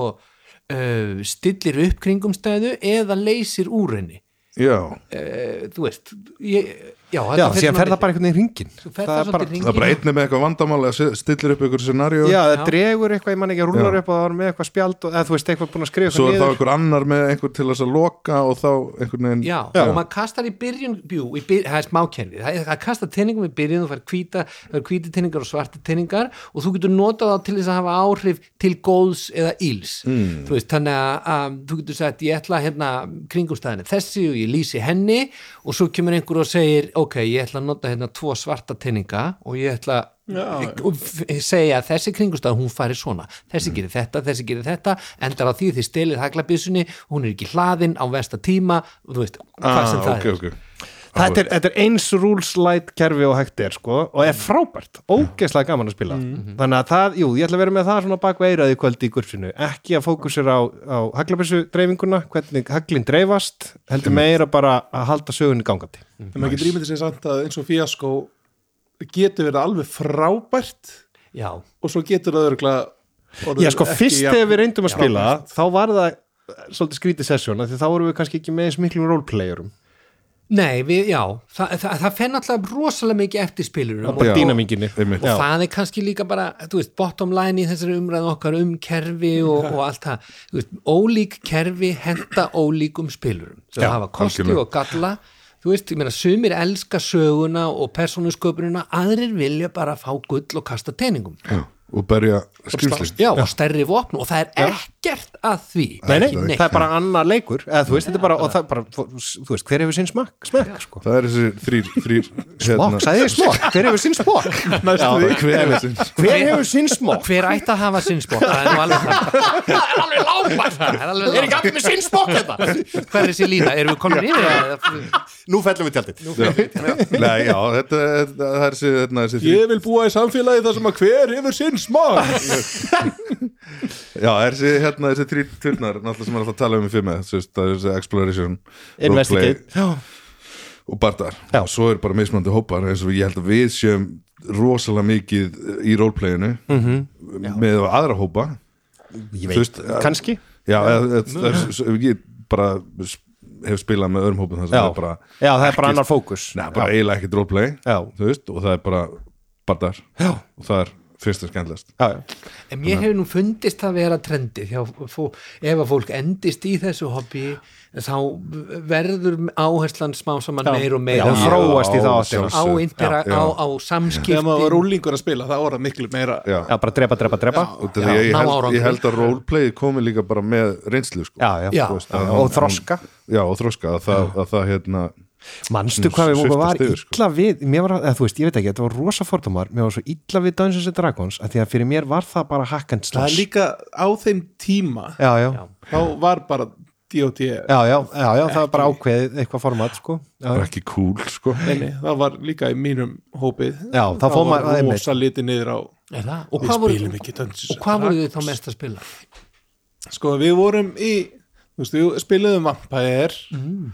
S1: uh, stillir upp kringumstæðu eða leysir úr henni
S2: Já,
S1: uh, þú veist ég, já, hérna
S3: já, síðan fer það bara einhvern veginn ringin
S1: Svo fer það svolítið hringinn.
S2: það er bara einnig með eitthvað vandamál eða se- stillir upp ykkur scenaríu
S3: Já,
S1: Já.
S3: það dregur eitthvað, ég man ekki að rúlar upp og það var með eitthvað spjald og eða, þú veist eitthvað búin að skrifa
S2: Svo
S3: eitthvað
S2: er þá
S3: niður
S2: einhver annar með einhver til þess að loka og þá einhvern veginn
S1: Já, og maður kastar í byrjun bjú, í byr, það er smákerfið, það, er- það kastar teiningum í byrjun og fær hvíta, það er hvíti teiningar og svarti teiningar og þú getur notað þá til þess að hafa áhrif til góðs eða íls, þú veist, þannig að, að þú getur sagt, ég ætla hérna kringumstæðinni þessi og ég lýsi henni og svo kemur einhver og segir ok, ég ætla að nota hérna tvo svarta teininga og ég ætla
S4: Já.
S1: og f- segja að þessi kringumstæð hún fari svona þessi gerir þetta, þessi gerir þetta endar á því að þið stelið haglabyssunni hún er ekki hlaðin á versta tíma og þú veist, hvað
S2: ah,
S1: sem það
S2: okay,
S1: er
S2: okay.
S3: Þetta er, þetta er eins rules light kerfi og hægt er sko og er frábært, ógeðslega gaman að spila
S1: Mm.
S2: Mhm.
S3: þannig að það, jú, ég ætla að vera með það svona bak við eiraði kvöld í gurfinu, ekki að fókusera á, á haglabessu dreifinguna hvernig haglinn dreifast, heldur meira bara að halda sögunni gangandi
S2: Mm.
S4: En maður getur ímyndið sér samt að eins og fíaskó getur verið alveg frábært
S1: já,
S4: og svo getur það örgulega
S3: Já, sko, fyrst þegar við reyndum að spila þá var það eh, svolítið skrítið sessjón af því þá vorum við kannski ekki með eins miklum roleplayerum
S1: nei, við, já það, það, það fenn alltaf rosalega mikið eftir spilur og,
S3: bara
S2: Já.
S3: dýnaminginni
S2: Einmitt.
S1: og það er kannski líka bara, þú veist, bottom line í þessari umræðu okkar um kerfi og, og allt það, þú veist, ólík kerfi henda ólíkum spilurum sem
S3: Já,
S1: hafa kosti
S2: algjörlega.
S1: og galla þú veist, ég meina, sumir elska söguna og persónusköpunina, aðrir vilja bara fá gull og kasta teiningum
S2: Já, og berja
S4: slást.
S2: skrimsli
S1: já, og stærri vopn og það er ekkert að því
S3: Nei, nei,
S2: Nei.
S3: það er bara annar leikur eða, þú veist, þetta er bara, og það er bara þú, þú veist, hver hefur sinn smakk, smekk, sko
S2: það er þessi þrýr, þrýr
S3: smokk, sagði ég smokk, hver hefur sinn smokk
S4: næstu því
S2: hver er þessi
S3: hver hefur sinn smokk,
S1: hver ætti að hafa sinnspokk það er nú alveg það það er alveg lágbært það er alveg
S3: er ekki allir með sinn smokk þetta
S1: lágbært hver er þessi lína, erum við komin yfir það?
S3: nú fellum við tjaldið
S2: Nei, já, þetta þetta- það er þessi, þarna, þessi þrýr
S4: ég vil búa í samfélagi þar sem að hver hefur sinn smak
S2: Já, er þessi, hérna, þessi þrýr turnar náttúrulega sem er alltaf að tala um í fimm þessi, þessi exploration, roleplay
S3: investigate, já,
S2: og bardar
S3: Já.
S2: og svo eru bara mismunandi hópar eins og ég held að við séum rosalega mikið í roleplayinu -hmm. með aðra hópa
S3: Mhm. ég
S2: Þú
S3: veit,
S2: veist, að-
S3: kannski
S2: Já, eða- eða- það er- svo- ég bara s- hef spilað með öðrum hópum þar sem
S3: já,
S2: það er bara,
S3: já, það er bara annar fókus
S2: neða, bara eiginlega ekkert roleplay
S3: Já.
S2: þú veist, og það er bara bardar
S3: já,
S2: og það er fyrst og skemmtilegast
S3: já, já
S1: en mér hefur nú fundist það vera trendi hjá, fó, ef að fólk endist í þessu hobby þá verður áherslan smá saman meir og meir
S3: Já,
S1: á,
S3: þróast í þá
S2: Já,
S3: áttina.
S1: á,
S2: sjálfsögð.
S1: intera,
S2: Já, já.
S1: á, á samskipti
S4: ef maður var úlingur að spila þá var það miklu meira
S2: Já.
S3: já, bara drepa, drepa, drepa
S2: og þetta ég, ég,
S1: ná
S2: held,
S1: árangri.
S2: ég held að roleplay komi líka bara með reynslu sko.
S3: já, já,
S1: Já.
S3: þú veist,
S2: Að
S3: já,
S2: hún-
S3: og þroska
S2: hún- já, og þroska, að það, að það hérna
S3: Manstu
S2: Svona
S3: hvað við okkur
S2: sviptast
S3: var
S2: yfir, sko.
S3: illa við, mér var, eða þú veist, ég veit ekki, þetta var rosa fordómar, mér var svo illa við Dungeons and Dragons að því að fyrir mér var það bara hack and
S4: það er
S3: slash.
S4: líka á þeim tíma
S3: Já, já, já,
S4: þá var bara D.O.T.
S3: já, já, já, það var bara ákveðið eitthvað format, sko. Já,
S2: bara ekki cool sko.
S4: Nei, það var líka í mínum hópið
S3: Já, þá fór maður- það
S4: var
S3: er mitt.
S4: rosa liti niður á
S1: Er það? og
S4: við
S1: hvað
S4: spilum
S1: voru,
S4: ekki Dungeons
S1: og hvað voru þið þá mest að spila?
S4: sko við vorum í þú veist, við spilaðum Vampire
S1: Mm.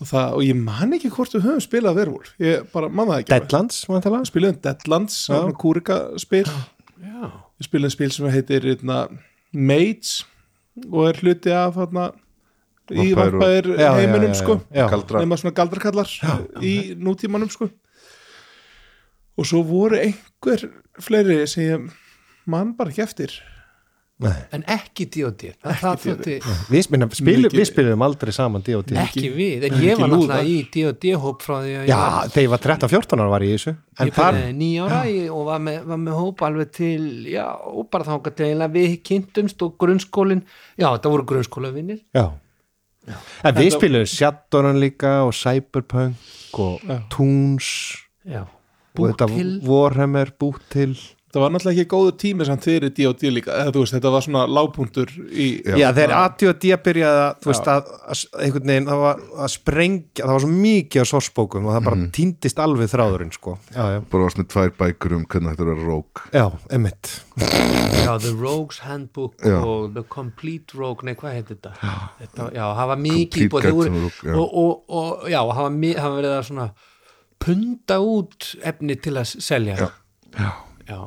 S4: og, það, og ég man ekki hvort við höfum spilað Verwolf ég bara man það ekki alveg.
S3: Deadlands, maður til
S4: Við spilaðum Deadlands, svona kúrika spil
S1: Já.
S4: við spilaðum spil sem heitir eitna, Mage og er hluti af hana, í
S2: Vampire og-
S4: Vampire
S3: Já, já,
S4: heiminum
S3: já, já.
S4: sko
S3: Já.
S2: Galdra.
S4: nema svona galdrakallar í nútímanum sko og svo voru einhver fleiri sem ég man bara ekki eftir
S3: það?
S1: en ekki D.O.D. það þótti
S3: Við spilum, spilum,
S4: Mikið-
S3: við spilum aldrei saman D.O.D.
S1: ekki við, en ég var
S4: lúðar.
S1: náttúrulega í D.O.D. hóp frá því að
S3: Já,
S1: ég var
S3: þegar ég var 13-14 ára var ég í þessu. En
S1: ég
S3: þar,
S1: byrjaði nýja ára í- og var með, var með hóp alveg til, já, og bara þangað til eiginlega við kynntumst og grunnskólin já, þetta voru grunnskólavinnir
S3: já. En við spilum Shadowrun líka og Cyberpunk og Toons
S1: já,
S3: og þetta
S1: Bútil.
S3: Warhammer, Bútil.
S4: það var náttúrulega ekki góðu tími samt fyrir D.O.D. líka, eða þú veist, þetta var svona lágpuntur í,
S2: Já.
S3: Já, þegar ADHD byrjaði að, þú veist, að, að einhvern veginn, það var að sprengja, það var svo mikið af sorsbókum og það bara týndist alveg þráðurinn, sko. Mhm. Já, já.
S2: bara varst með tvær bækur um hvernig þetta er að rók
S3: Já, emmitt.
S1: já, The Rogue's Handbook
S2: Já.
S1: og The Complete Rogue, nei, hvað heit þetta? þetta já, hafa mikið
S2: Complete
S1: íbúð, þeir voru-
S2: Guide to the Rogue, já.
S1: og, og, og já, hafa, mi- hafa verið að svona punda út efni til að s- selja já Já,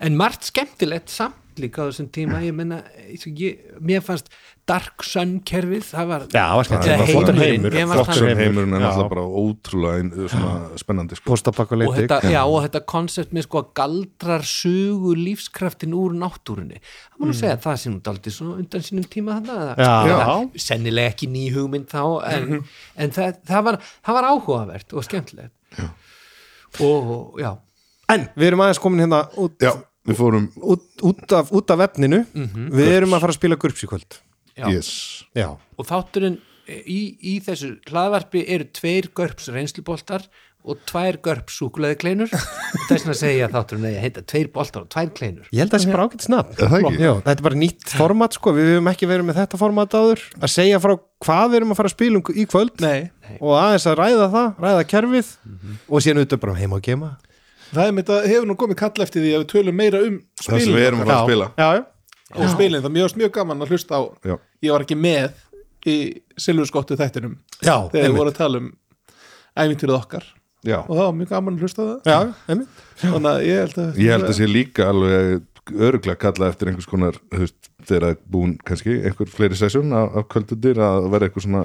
S1: en margt skemmtilegt samt líka á þessum tíma, ég menna ég, mér fannst Dark Sun kerfið, það var
S3: Já, það var skemmt.
S1: Eða
S3: Flottur
S1: heimurinn,
S3: heimur.
S1: ég var
S3: Flottur
S1: þannig.
S2: sem heimurinn er
S3: já.
S2: alltaf bara ótrúlega ein, svona, spennandi sko.
S1: og
S3: Póstabakkuleitik.
S1: þetta, já, og þetta koncept með sko að galdrar sögu lífskraftin úr náttúrunni það má nú segja að það sé nú daldið svona undan sínum tíma
S3: Mm.
S1: þannig
S3: Já. Mhm.
S1: sennilega ekki ný hugmynd þá en, en það, það, var, það var áhugavert og skemmtilegt já. og já,
S3: En við erum aðeins komin hérna út,
S2: já, við fórum
S3: út, út, af, út af efninu, við erum að fara að spila GURPS í kvöld.
S1: já.
S2: yes.
S3: Mhm. Já.
S1: og þátturinn í, í þessu hlaðvarpi eru tveir görps reynsluboltar og tvær görps súkuleði kleinur þess vegna segja þátturinn að ég heita tveir boltar og tvær kleinur
S3: Ég held að það sé bara ágætt snabbt.
S2: Er það ekki?
S3: Já, þetta er bara nýtt format, sko, við höfum ekki verið með þetta format áður. Að segja frá hvað við erum að fara að spila um- í kvöld
S4: nei,
S3: og aðeins að ræða það, ræða kerfið og síðan auðvitað bara heima og gema.
S4: það er mitt að hefur nú komið kall eftir því að við tölum meira um
S2: það sem við
S4: spilin
S2: erum að fara að spila
S3: Já, já.
S4: og spilin, það er mjög, mjög gaman að hlusta á
S2: Já.
S4: ég var ekki með í Silvurskottu þættinum
S3: Já,
S4: þegar
S3: einmitt.
S4: við vorum að tala um ævintýrið okkar
S2: Já.
S4: og það var mjög gaman að hlusta á það
S3: Já, einmitt.
S4: þannig að ég held að,
S2: ég held að sé líka alveg öruglega kalla eftir einhvers konar þú veist, þegar það er búin kannski einhver fleiri sessjón af, af kvöldundir að vera eitthvað svona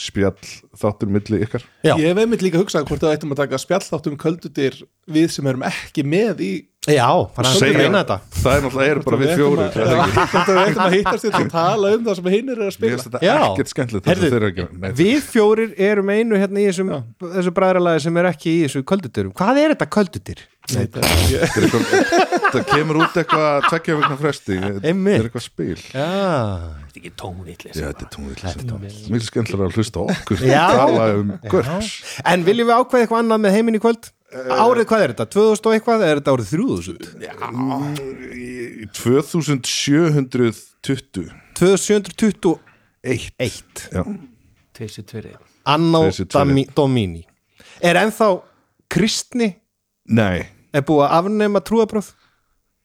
S2: spjall þáttur milli ykkar
S3: Já.
S4: ég hef einmitt líka hugsað hvort það ættum að taka spjall þátt um köldutir við sem erum ekki með í
S3: Já, hann er
S2: Segja-
S3: að reyna þetta
S2: það er náttúrulega er bara við
S4: ætlum
S2: fjóri
S4: að- Þetta er eitthvað að hittast þetta að tala um það sem hinnir eru að
S2: Mér
S4: spila
S2: finnst þetta
S3: Já.
S2: ekkert skemmtilegt þetta
S3: Heyrðu,
S2: þeirra ekki Nei,
S3: Við fjórir erum einu hérna í þessum, þessu bræðralagi sem er ekki í þessu kölduturum Hvað er þetta köldutur?
S4: Nei, þetta- ég-
S2: þetta er eitthvað- Það kemur út eitthvað að tvekja vegna fresti Það
S3: Einmitt.
S2: er eitthvað spil
S3: Já,
S1: þetta er ekki tónvillis
S2: Já, þetta er tónvill Mjög skemmtilega að hlusta á okkur
S3: Já.
S2: tala um görps
S3: En viljum við ákveða eitthvað annað með heiminn í kvöld?
S2: Eh.
S3: Árið hvað er þetta? 2000 og eitthvað? Er þetta árið 3000?
S2: 2720
S3: 2721
S2: Já,
S1: tveisir tverið
S3: Annó
S2: Þessi tvö
S3: Dami- Domini Er ennþá kristni
S2: nei
S3: er búið að afnema trúabröð?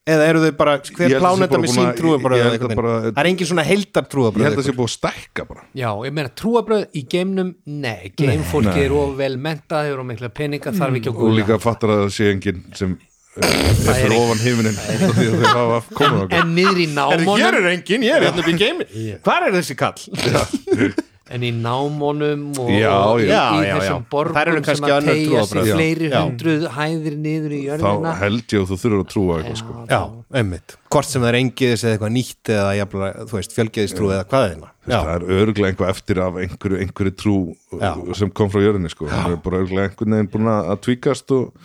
S3: Eða eru þau bara,
S2: Ég
S3: hver
S2: held að sé
S3: pláneta
S2: bara
S3: með
S2: búin
S3: sín
S2: að- ég
S3: trúabröð
S2: held að bara-
S3: Það er engin svona heildar
S2: Ég held
S3: trúabröð
S2: að það sé búið að stækka bara
S1: Já, ég meina trúabröð í geimnum nei, geimfólki er of vel mentað hefur of mikla peninga, þarf
S3: Mm.
S1: ekki
S2: og
S1: að góla
S2: líka fattar að það sé enginn sem eh, er fyrir ofan himinin því að þau hafa komið okkur
S1: en niður í námónum
S3: er engin, ég er hérna upp í geimi Hvar er þessi kall?
S1: en í námónum og,
S2: Já,
S1: og í,
S3: já,
S1: í
S3: já, já.
S1: þessum
S3: Þær eru
S1: borgum
S3: kannski
S1: sem að
S3: önnur
S1: tegja sig
S3: trúarbrögð. Já.
S1: fleiri
S3: Já.
S1: hundruð hæðir niður í
S2: þá
S1: jörðina
S2: held ég að þú þurfur að trúa eitthvað sko.
S3: Já, einmitt Hvort sem það er engiðis eða eitthvað nýtt eða jafnlega, þú veist, fjölgeðistrú eða hvað er
S2: Þú veist, það er örglega einhvað eftir af einhverju, einhverju trú
S3: Já.
S2: sem kom frá jörðinni sko. það er bara örglega einhvern veginn búin að tvíkast og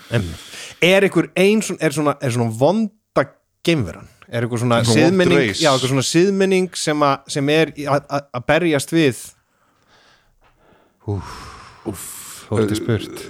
S3: er einhver ein svona, er svona, er svona vonda geimveran er einhver svona,
S2: Svona vond
S3: síðmenning
S2: race.
S3: já, einhver svona síðmenning sem, a, sem er í- að- að að berjast við Úff Þótti spurt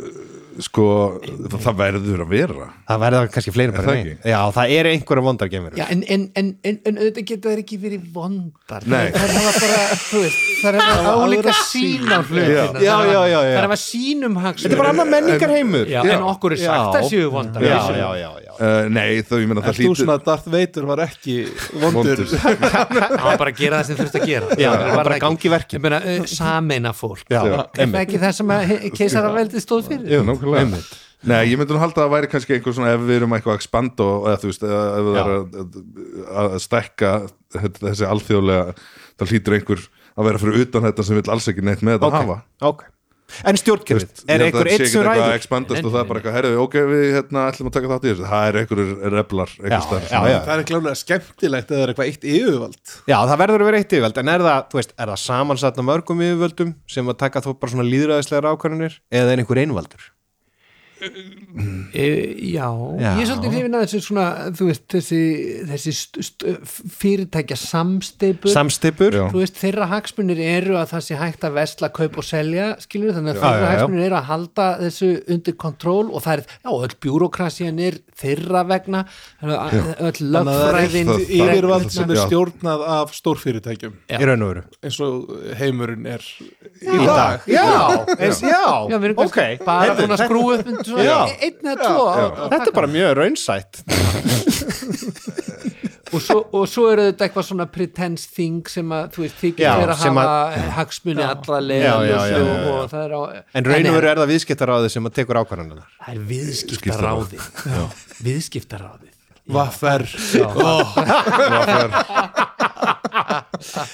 S2: sko, það, það verður að vera
S3: Það verða kannski fleiri bara
S2: það
S3: en ein.
S2: ekki?
S3: Já, það eru einhverja vondar geimverur
S1: Já, en, en, en, en, en auðvitað geta þær ekki verið vondar
S2: Nei.
S1: þær hafa bara, þú veist þær hafa álíka sín á hlutina
S2: Já.
S3: Já, já, já, já.
S1: þær hafa sínum
S3: Þetta er bara
S1: hagsmunum
S3: annar menningarheimur
S1: já, en okkur er sagt
S3: Já.
S1: að séu vondar
S3: Já,
S1: vissulega.
S3: já, já, já
S2: uh, nei, þá ég meina
S4: Ert
S2: það
S4: þú
S2: hlýtur
S4: svona að Darth Vader var ekki vondur
S2: vondur.
S1: það var bara að gera það sem þurft að gera
S3: Já,
S1: Það var
S3: bara
S1: ekki.
S3: gangi í verkin.
S1: Ég meina, uh, sameina fólk
S3: Já,
S1: Er það
S3: einmitt.
S1: ekki það sem að keisaraveldið stóð fyrir
S2: Jú, nákvæmlega. Nei, ég myndi nú halda að það væri kannski einhver svona ef við erum eitthvað að expanda og eða þú veist, eða ef það
S3: Já.
S2: er að, að, að stekka þetta, þessi alþjóðlega það hlýtur einhver að vera fyrir utan þetta sem vill alls ekki neitt með þetta
S3: Ok,
S2: að hafa
S3: ok En
S2: Þú
S3: stjórnkerfið,
S2: ég
S3: er
S2: held að
S3: einhver
S2: það sé
S3: eitt
S2: ekkert
S3: sem
S2: eitthvað að
S3: ræður
S2: expandast og það er bara eitthvað, herðu, ok, við hérna ætlum að taka þátt í þessu, það er einhverjur reblar
S3: Já,
S2: einhver starf
S3: já, já
S4: Það er klálega skemmtilegt að það er eitthvað eitt yfirvald
S3: Já, það verður að vera eitt yfirvöld, en er það, þú veist, er það samansatt af mörgum yfirvöldum sem að taka þó bara svona líðræðislegar ákvarðanir eða er einhver einvaldur?
S1: E, já,
S3: Já.
S1: ég er svolítið hrifin að þessu svona, þú veist, þessi, þessi st, st, fyrirtækja samsteipur
S3: Samstipur?
S2: Já.
S1: þú veist, þeirra hagsmunir eru að það sé hægt að vesla, kaup og selja skilur þannig
S3: Já,
S1: að þeirra
S3: já, já.
S1: hagsmunir eru að halda þessu undir kontról og það er, já, öll bjúrokrasían er þeirra vegna þannig að öll
S4: Þannig að það er
S1: lögfræðin
S2: Það-
S4: eitt yfirvald sem er
S2: Já.
S4: stjórnað af stórfyrirtækjum
S3: Í raun og veru.
S4: eins og heimurinn er í
S3: Í dag. Já, eins, já,
S1: Já, við erum
S3: ok.
S1: kannski bara
S3: Heyrðu,
S1: búin að
S3: þetta-
S1: skrúa upp undir svona
S3: Já.
S1: einn eða tvo og- og
S3: Þetta er bara mjög raunsætt.
S1: og svo, og svo eru þetta eitthvað svona pretense thing sem að þú veist þykir
S3: Já,
S1: fyrir að
S3: sem
S1: hafa hagsmuni allra leið
S3: Já, já, já, já, já.
S1: og það er á
S3: En raun og veru er það viðskiptaráðið sem að tekur ákvarðanirnar.
S1: það er viðskiptaráði viðskiptaráði
S4: Vaffer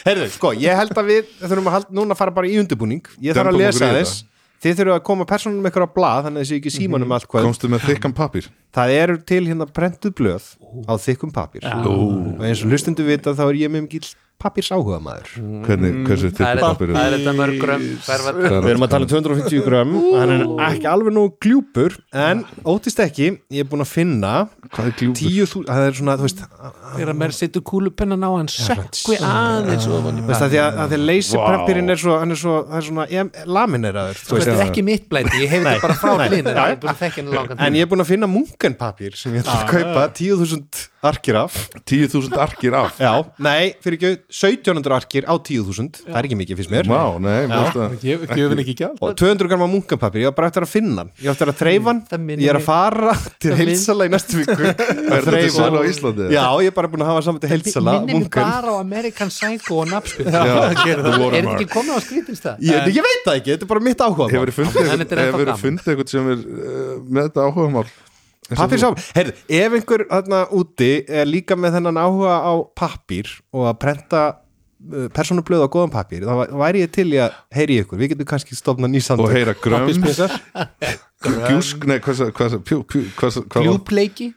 S3: Herðu, sko, ég held að við þurfum að hald, núna fara bara í undirbúning. Ég þarf
S2: Dömpum
S3: að lesa
S2: okkur í
S3: þess. Þið þurfum að koma persónum ykkur á blað, þannig að þessi ekki í símanum allt hvað.
S2: komstu með þykkan pappir
S3: Það eru til hérna prentuð blöð á þykkum pappir. Og eins og lustundu vita þá er ég með mikið pappirs áhuga maður.
S2: hvernig, hversu
S1: það er
S2: þykkan pappir
S1: það er þetta mörgrum hverfa
S3: Við erum að tala um 250 grömm Hann er ekki alveg nú gljúpur En óttist ekki, ég er búin að finna
S2: hvað er gljúfur?
S3: 10.000, það er svona, þú veist
S1: þegar að mér setur kúlupennan á hann sökku Sko, aðeins ofan í
S3: Veist, að því að, að því að leysipappirinn er svo, hann er svo, það er svona, ég, lamineraður þú
S1: Sko,
S3: veist.
S1: þetta er ekki mitt blæti, ég hef þetta bara frá
S3: Nei.
S1: hlýn ég
S3: Já,
S1: er búin að þekka henni langan
S3: En
S1: tíma.
S3: ég er búin að finna munkenpappir sem ég ætla að kaupa 10.000 arkir af
S2: 10.000 arkir af
S3: Já, nei, fyrir ekki 1700 arkir á 10.000 Það er ekki mikið fyrst mér
S2: Vá, nei, mást að
S4: Gjöfin ekki, ekki gjald
S3: Og 200 gramma munkenpappir, ég var bara eftir að finna hann Ég var eftir að þreifa
S1: Það
S3: hann,
S1: minnir
S3: ég er
S1: mig-
S3: að fara til
S1: Það minn-
S3: heilsala í næstu viku Er
S2: Er þetta til sölu á Íslandi?
S3: Já, ég er bara búin að hafa saman til heilsala
S1: minnir mig
S3: munkan
S1: bara á American Psycho og Napspil
S2: Já,
S1: er
S2: the
S1: þetta
S2: watermark.
S1: ekki komið á skrítinstað?
S3: ég, ég veit það ekki, þetta er bara mitt áhuga
S2: Hefur þið fundið,
S1: Þannig þetta er ennþá
S2: hefur
S1: gaman.
S2: fundið eitthvað sem er uh, með þetta áhuga mál?
S3: Pappir sá, heyrðu, ef einhver þarna úti er líka með þennan áhuga á pappir og að prenta uh, persónublöð á góðan pappir þá væ- væri ég til í að heyri ykkur við getum kannski stofna
S2: Og
S3: nýsand
S2: heyra gröms,
S4: Pappispisar
S2: gjúsk, nei, hvað, hvað, hvað, hvað, hvað, hvað, hvað,
S1: Ljúpleiki?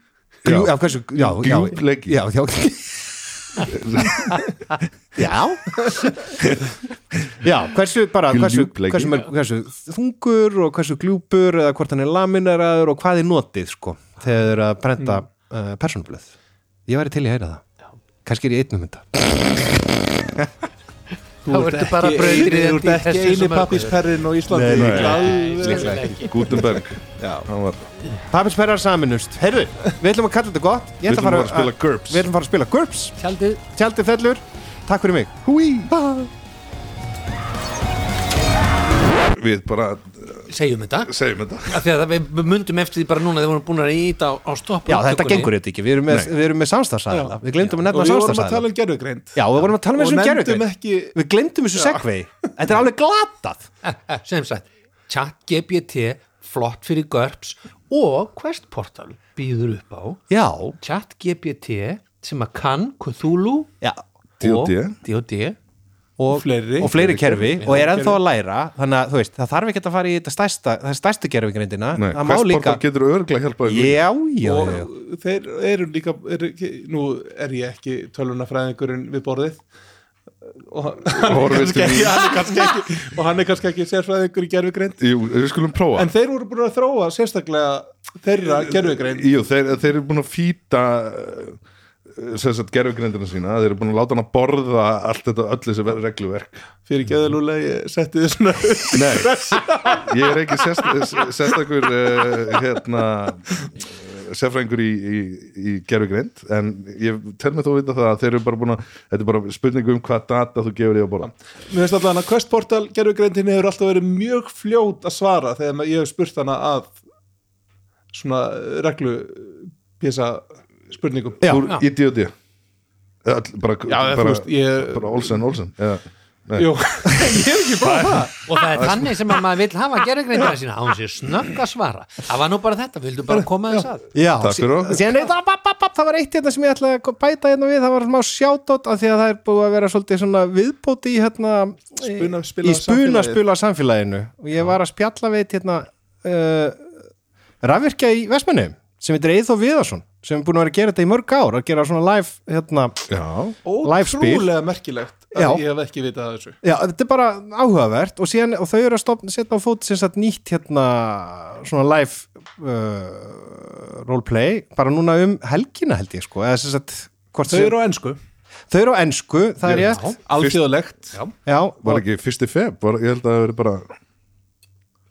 S3: Gljú, já, hversu, já, já,
S2: Djúpleiki.
S3: já, já, já já, hversu bara hversu,
S2: Gljúpleiki.
S3: hversu, mörg- hversu þungur og hversu gljúpur eða hvort hann er lamineraður og hvað er notið sko þegar þeir eru að brenda uh, persónublöð ég væri til í að heyra það kannski er ég einn um þetta
S1: Þá ertu bara brauðrið
S4: Þú ert ekki eini pappísperrin og Íslandi
S2: Nei,
S4: Ég
S2: nei,
S4: alveg-
S2: líklega ekki Gutenberg, hann var
S3: Pappisperrar saminust, heyrðu, við ætlum að kalla þetta gott Ég
S2: Við
S3: ætla
S2: ætlum bara að spila
S3: að-
S2: GURPS
S3: við ætlum að fara að spila GURPS
S1: Tjaldið
S3: Tjaldið fellur, takk fyrir mig Húi, bye
S2: Við bara
S1: segjum þetta
S2: segjum þetta
S1: af því að það- við myndum eftir því bara núna þegar við vorum búin að íta á, á stopp
S3: Já, þetta gengur þetta ekki, við erum með, við erum með samstafsæðala Við glemdum að
S4: Og
S3: nefna
S4: við vorum að tala
S3: samstafsæðala
S4: um gerðugreind
S3: Já, við vorum að tala um
S4: Og
S3: þessum
S4: nefndum
S3: gerðugrein
S4: ekki
S3: Við glemdum þessu segvei Þetta er alveg glatað
S1: Eh, sem sagt, chat GPT flott fyrir GURPS og Quest Portal býður upp á
S3: Já,
S1: chat GPT sem að kann Cthulhu
S3: já
S1: og
S2: D&D.
S1: D&D
S3: Og
S4: Fleiri.
S3: og fleiri kerfi
S1: Já,
S3: Og er ennþá að læra Þannig að, þú veist, það þarf ekki að fara í þetta stærsta Það er stærsta gerðugreindina
S2: Nei,
S3: Það má
S2: hvers
S3: líka
S2: portal getur örglega hjálpað ykkur?
S3: Já, já, já, já
S4: og þeir eru líka er, nú er ég ekki tölunafræðingurinn við borðið og,
S2: Horfist
S4: kannski
S2: í-
S4: ekki, hann er kannski ekki, og hann er kannski ekki sérfræðingur í gerfugreind
S2: Jú, við skulum prófa
S4: en þeir voru búin að þróa sérstaklega þeirra gerfugreind
S2: Jú, þeir, þeir eru búin að fýta eh, sem sagt gerfugrindina sína þeir eru búin að láta hann að borða allt þetta öll þessi ver- regluverk
S4: fyrir geðalúlega ég setti þið svona upp.
S2: ég er ekki sérst, sérstakur uh, hérna eh, sérfræðingur í, í, í gerfugrind en ég tel mig þó að vita það að þeir eru bara búin að þetta er bara spurningu um hvað data þú gefur í að borða
S4: mér finnst allan að Quest Portal gerfugreindin hefur alltaf verið mjög fljót að svara þegar ma- ég hef spurt hana að svona eh, reglu pjesa spurningum
S3: Já.
S2: Þú er idioti bara,
S4: Já,
S2: bara,
S4: þú veist, ég-
S2: bara Olsen, Olsen já, nei.
S4: Jú, ég hef ekki prófað það
S1: og það er þannig sem að maður vil hafa gerðugreindina sína á hún sé snögg að svara það var nú bara þetta, vildu bara koma þess að
S3: Já,
S2: Takk fyrir
S3: sí-
S2: okkur.
S3: síðan er það, bap, bap, bap, það var eitt hérna sem ég ætlaði að bæta hérna við, það var smá sjátótt af því að það er búið að vera svolítið svona viðbóti í hérna
S4: Spuna- spila
S3: í spuna
S4: samfélagið.
S3: spila samfélaginu og ég var að spjalla við eitt, hérna uh, rafvirkja í Vestmanni sem heitir Eithó Viðarsson sem er búin að vera að gera þetta í mörg ár að gera svona live hérna
S2: já,
S3: Live spil.
S4: Ótrúlega merkilegt að
S3: Já.
S4: ég hef ekki vitað af þessu
S3: Já, þetta er bara áhugavert og, síðan, og þau eru að stopna, setja á fót sem sagt nýtt hérna svona live uh, roleplay bara núna um helgina held ég sko eða sem sagt hvort
S4: Þau
S3: sem-
S4: eru á ensku,
S3: þau eru á ensku, það er ég
S4: alþjóðlegt
S3: Já, og,
S2: var ekki fyrsti feb var, ég held að það veri bara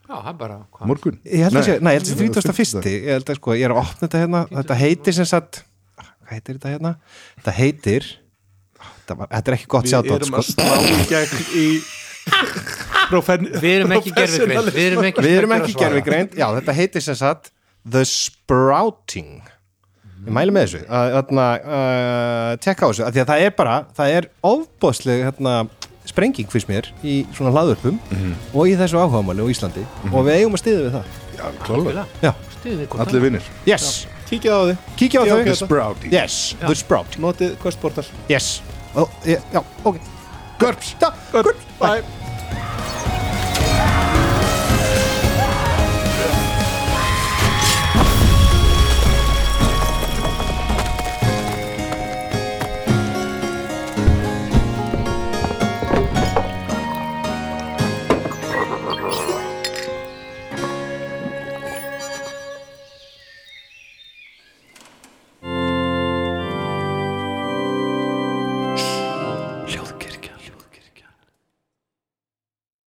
S1: já, það er bara, hvað
S2: morgun
S3: ég held að sé, nei, ég held að
S2: Nei,
S3: 31. ég held að sko, ég er að opna þetta hérna þetta heitir sem sagt hvað heitir þetta hérna? Þetta heitir þetta, var, þetta er ekki gott
S4: Við
S3: sjátt
S4: erum
S3: sko.
S4: að slá í gegn í profen-
S1: við erum ekki gerðugreind við erum ekki,
S3: við erum ekki
S1: snögg að svara.
S3: gerfigreind já, þetta heitir sem sagt The Sprouting ég mæli með þessu að, að, að tekka á þessu, af því að það er bara það er ofbóðsleg hérna, sprenging fyrst mér í svona hlaðurpum og í þessu áhugamáli á Íslandi og við eigum að styðja við það
S2: já, klálega,
S3: já,
S1: Styðið hvort
S2: allir vinnir
S3: yes,
S4: Kíkja á þið,
S3: kíkja á
S4: Já,
S3: þau
S4: ok.
S2: The Sprouty
S3: yes, The Sprouting
S4: notið Quest Portal
S3: yes, og, já, ok GURPS, GURPS,
S4: Bye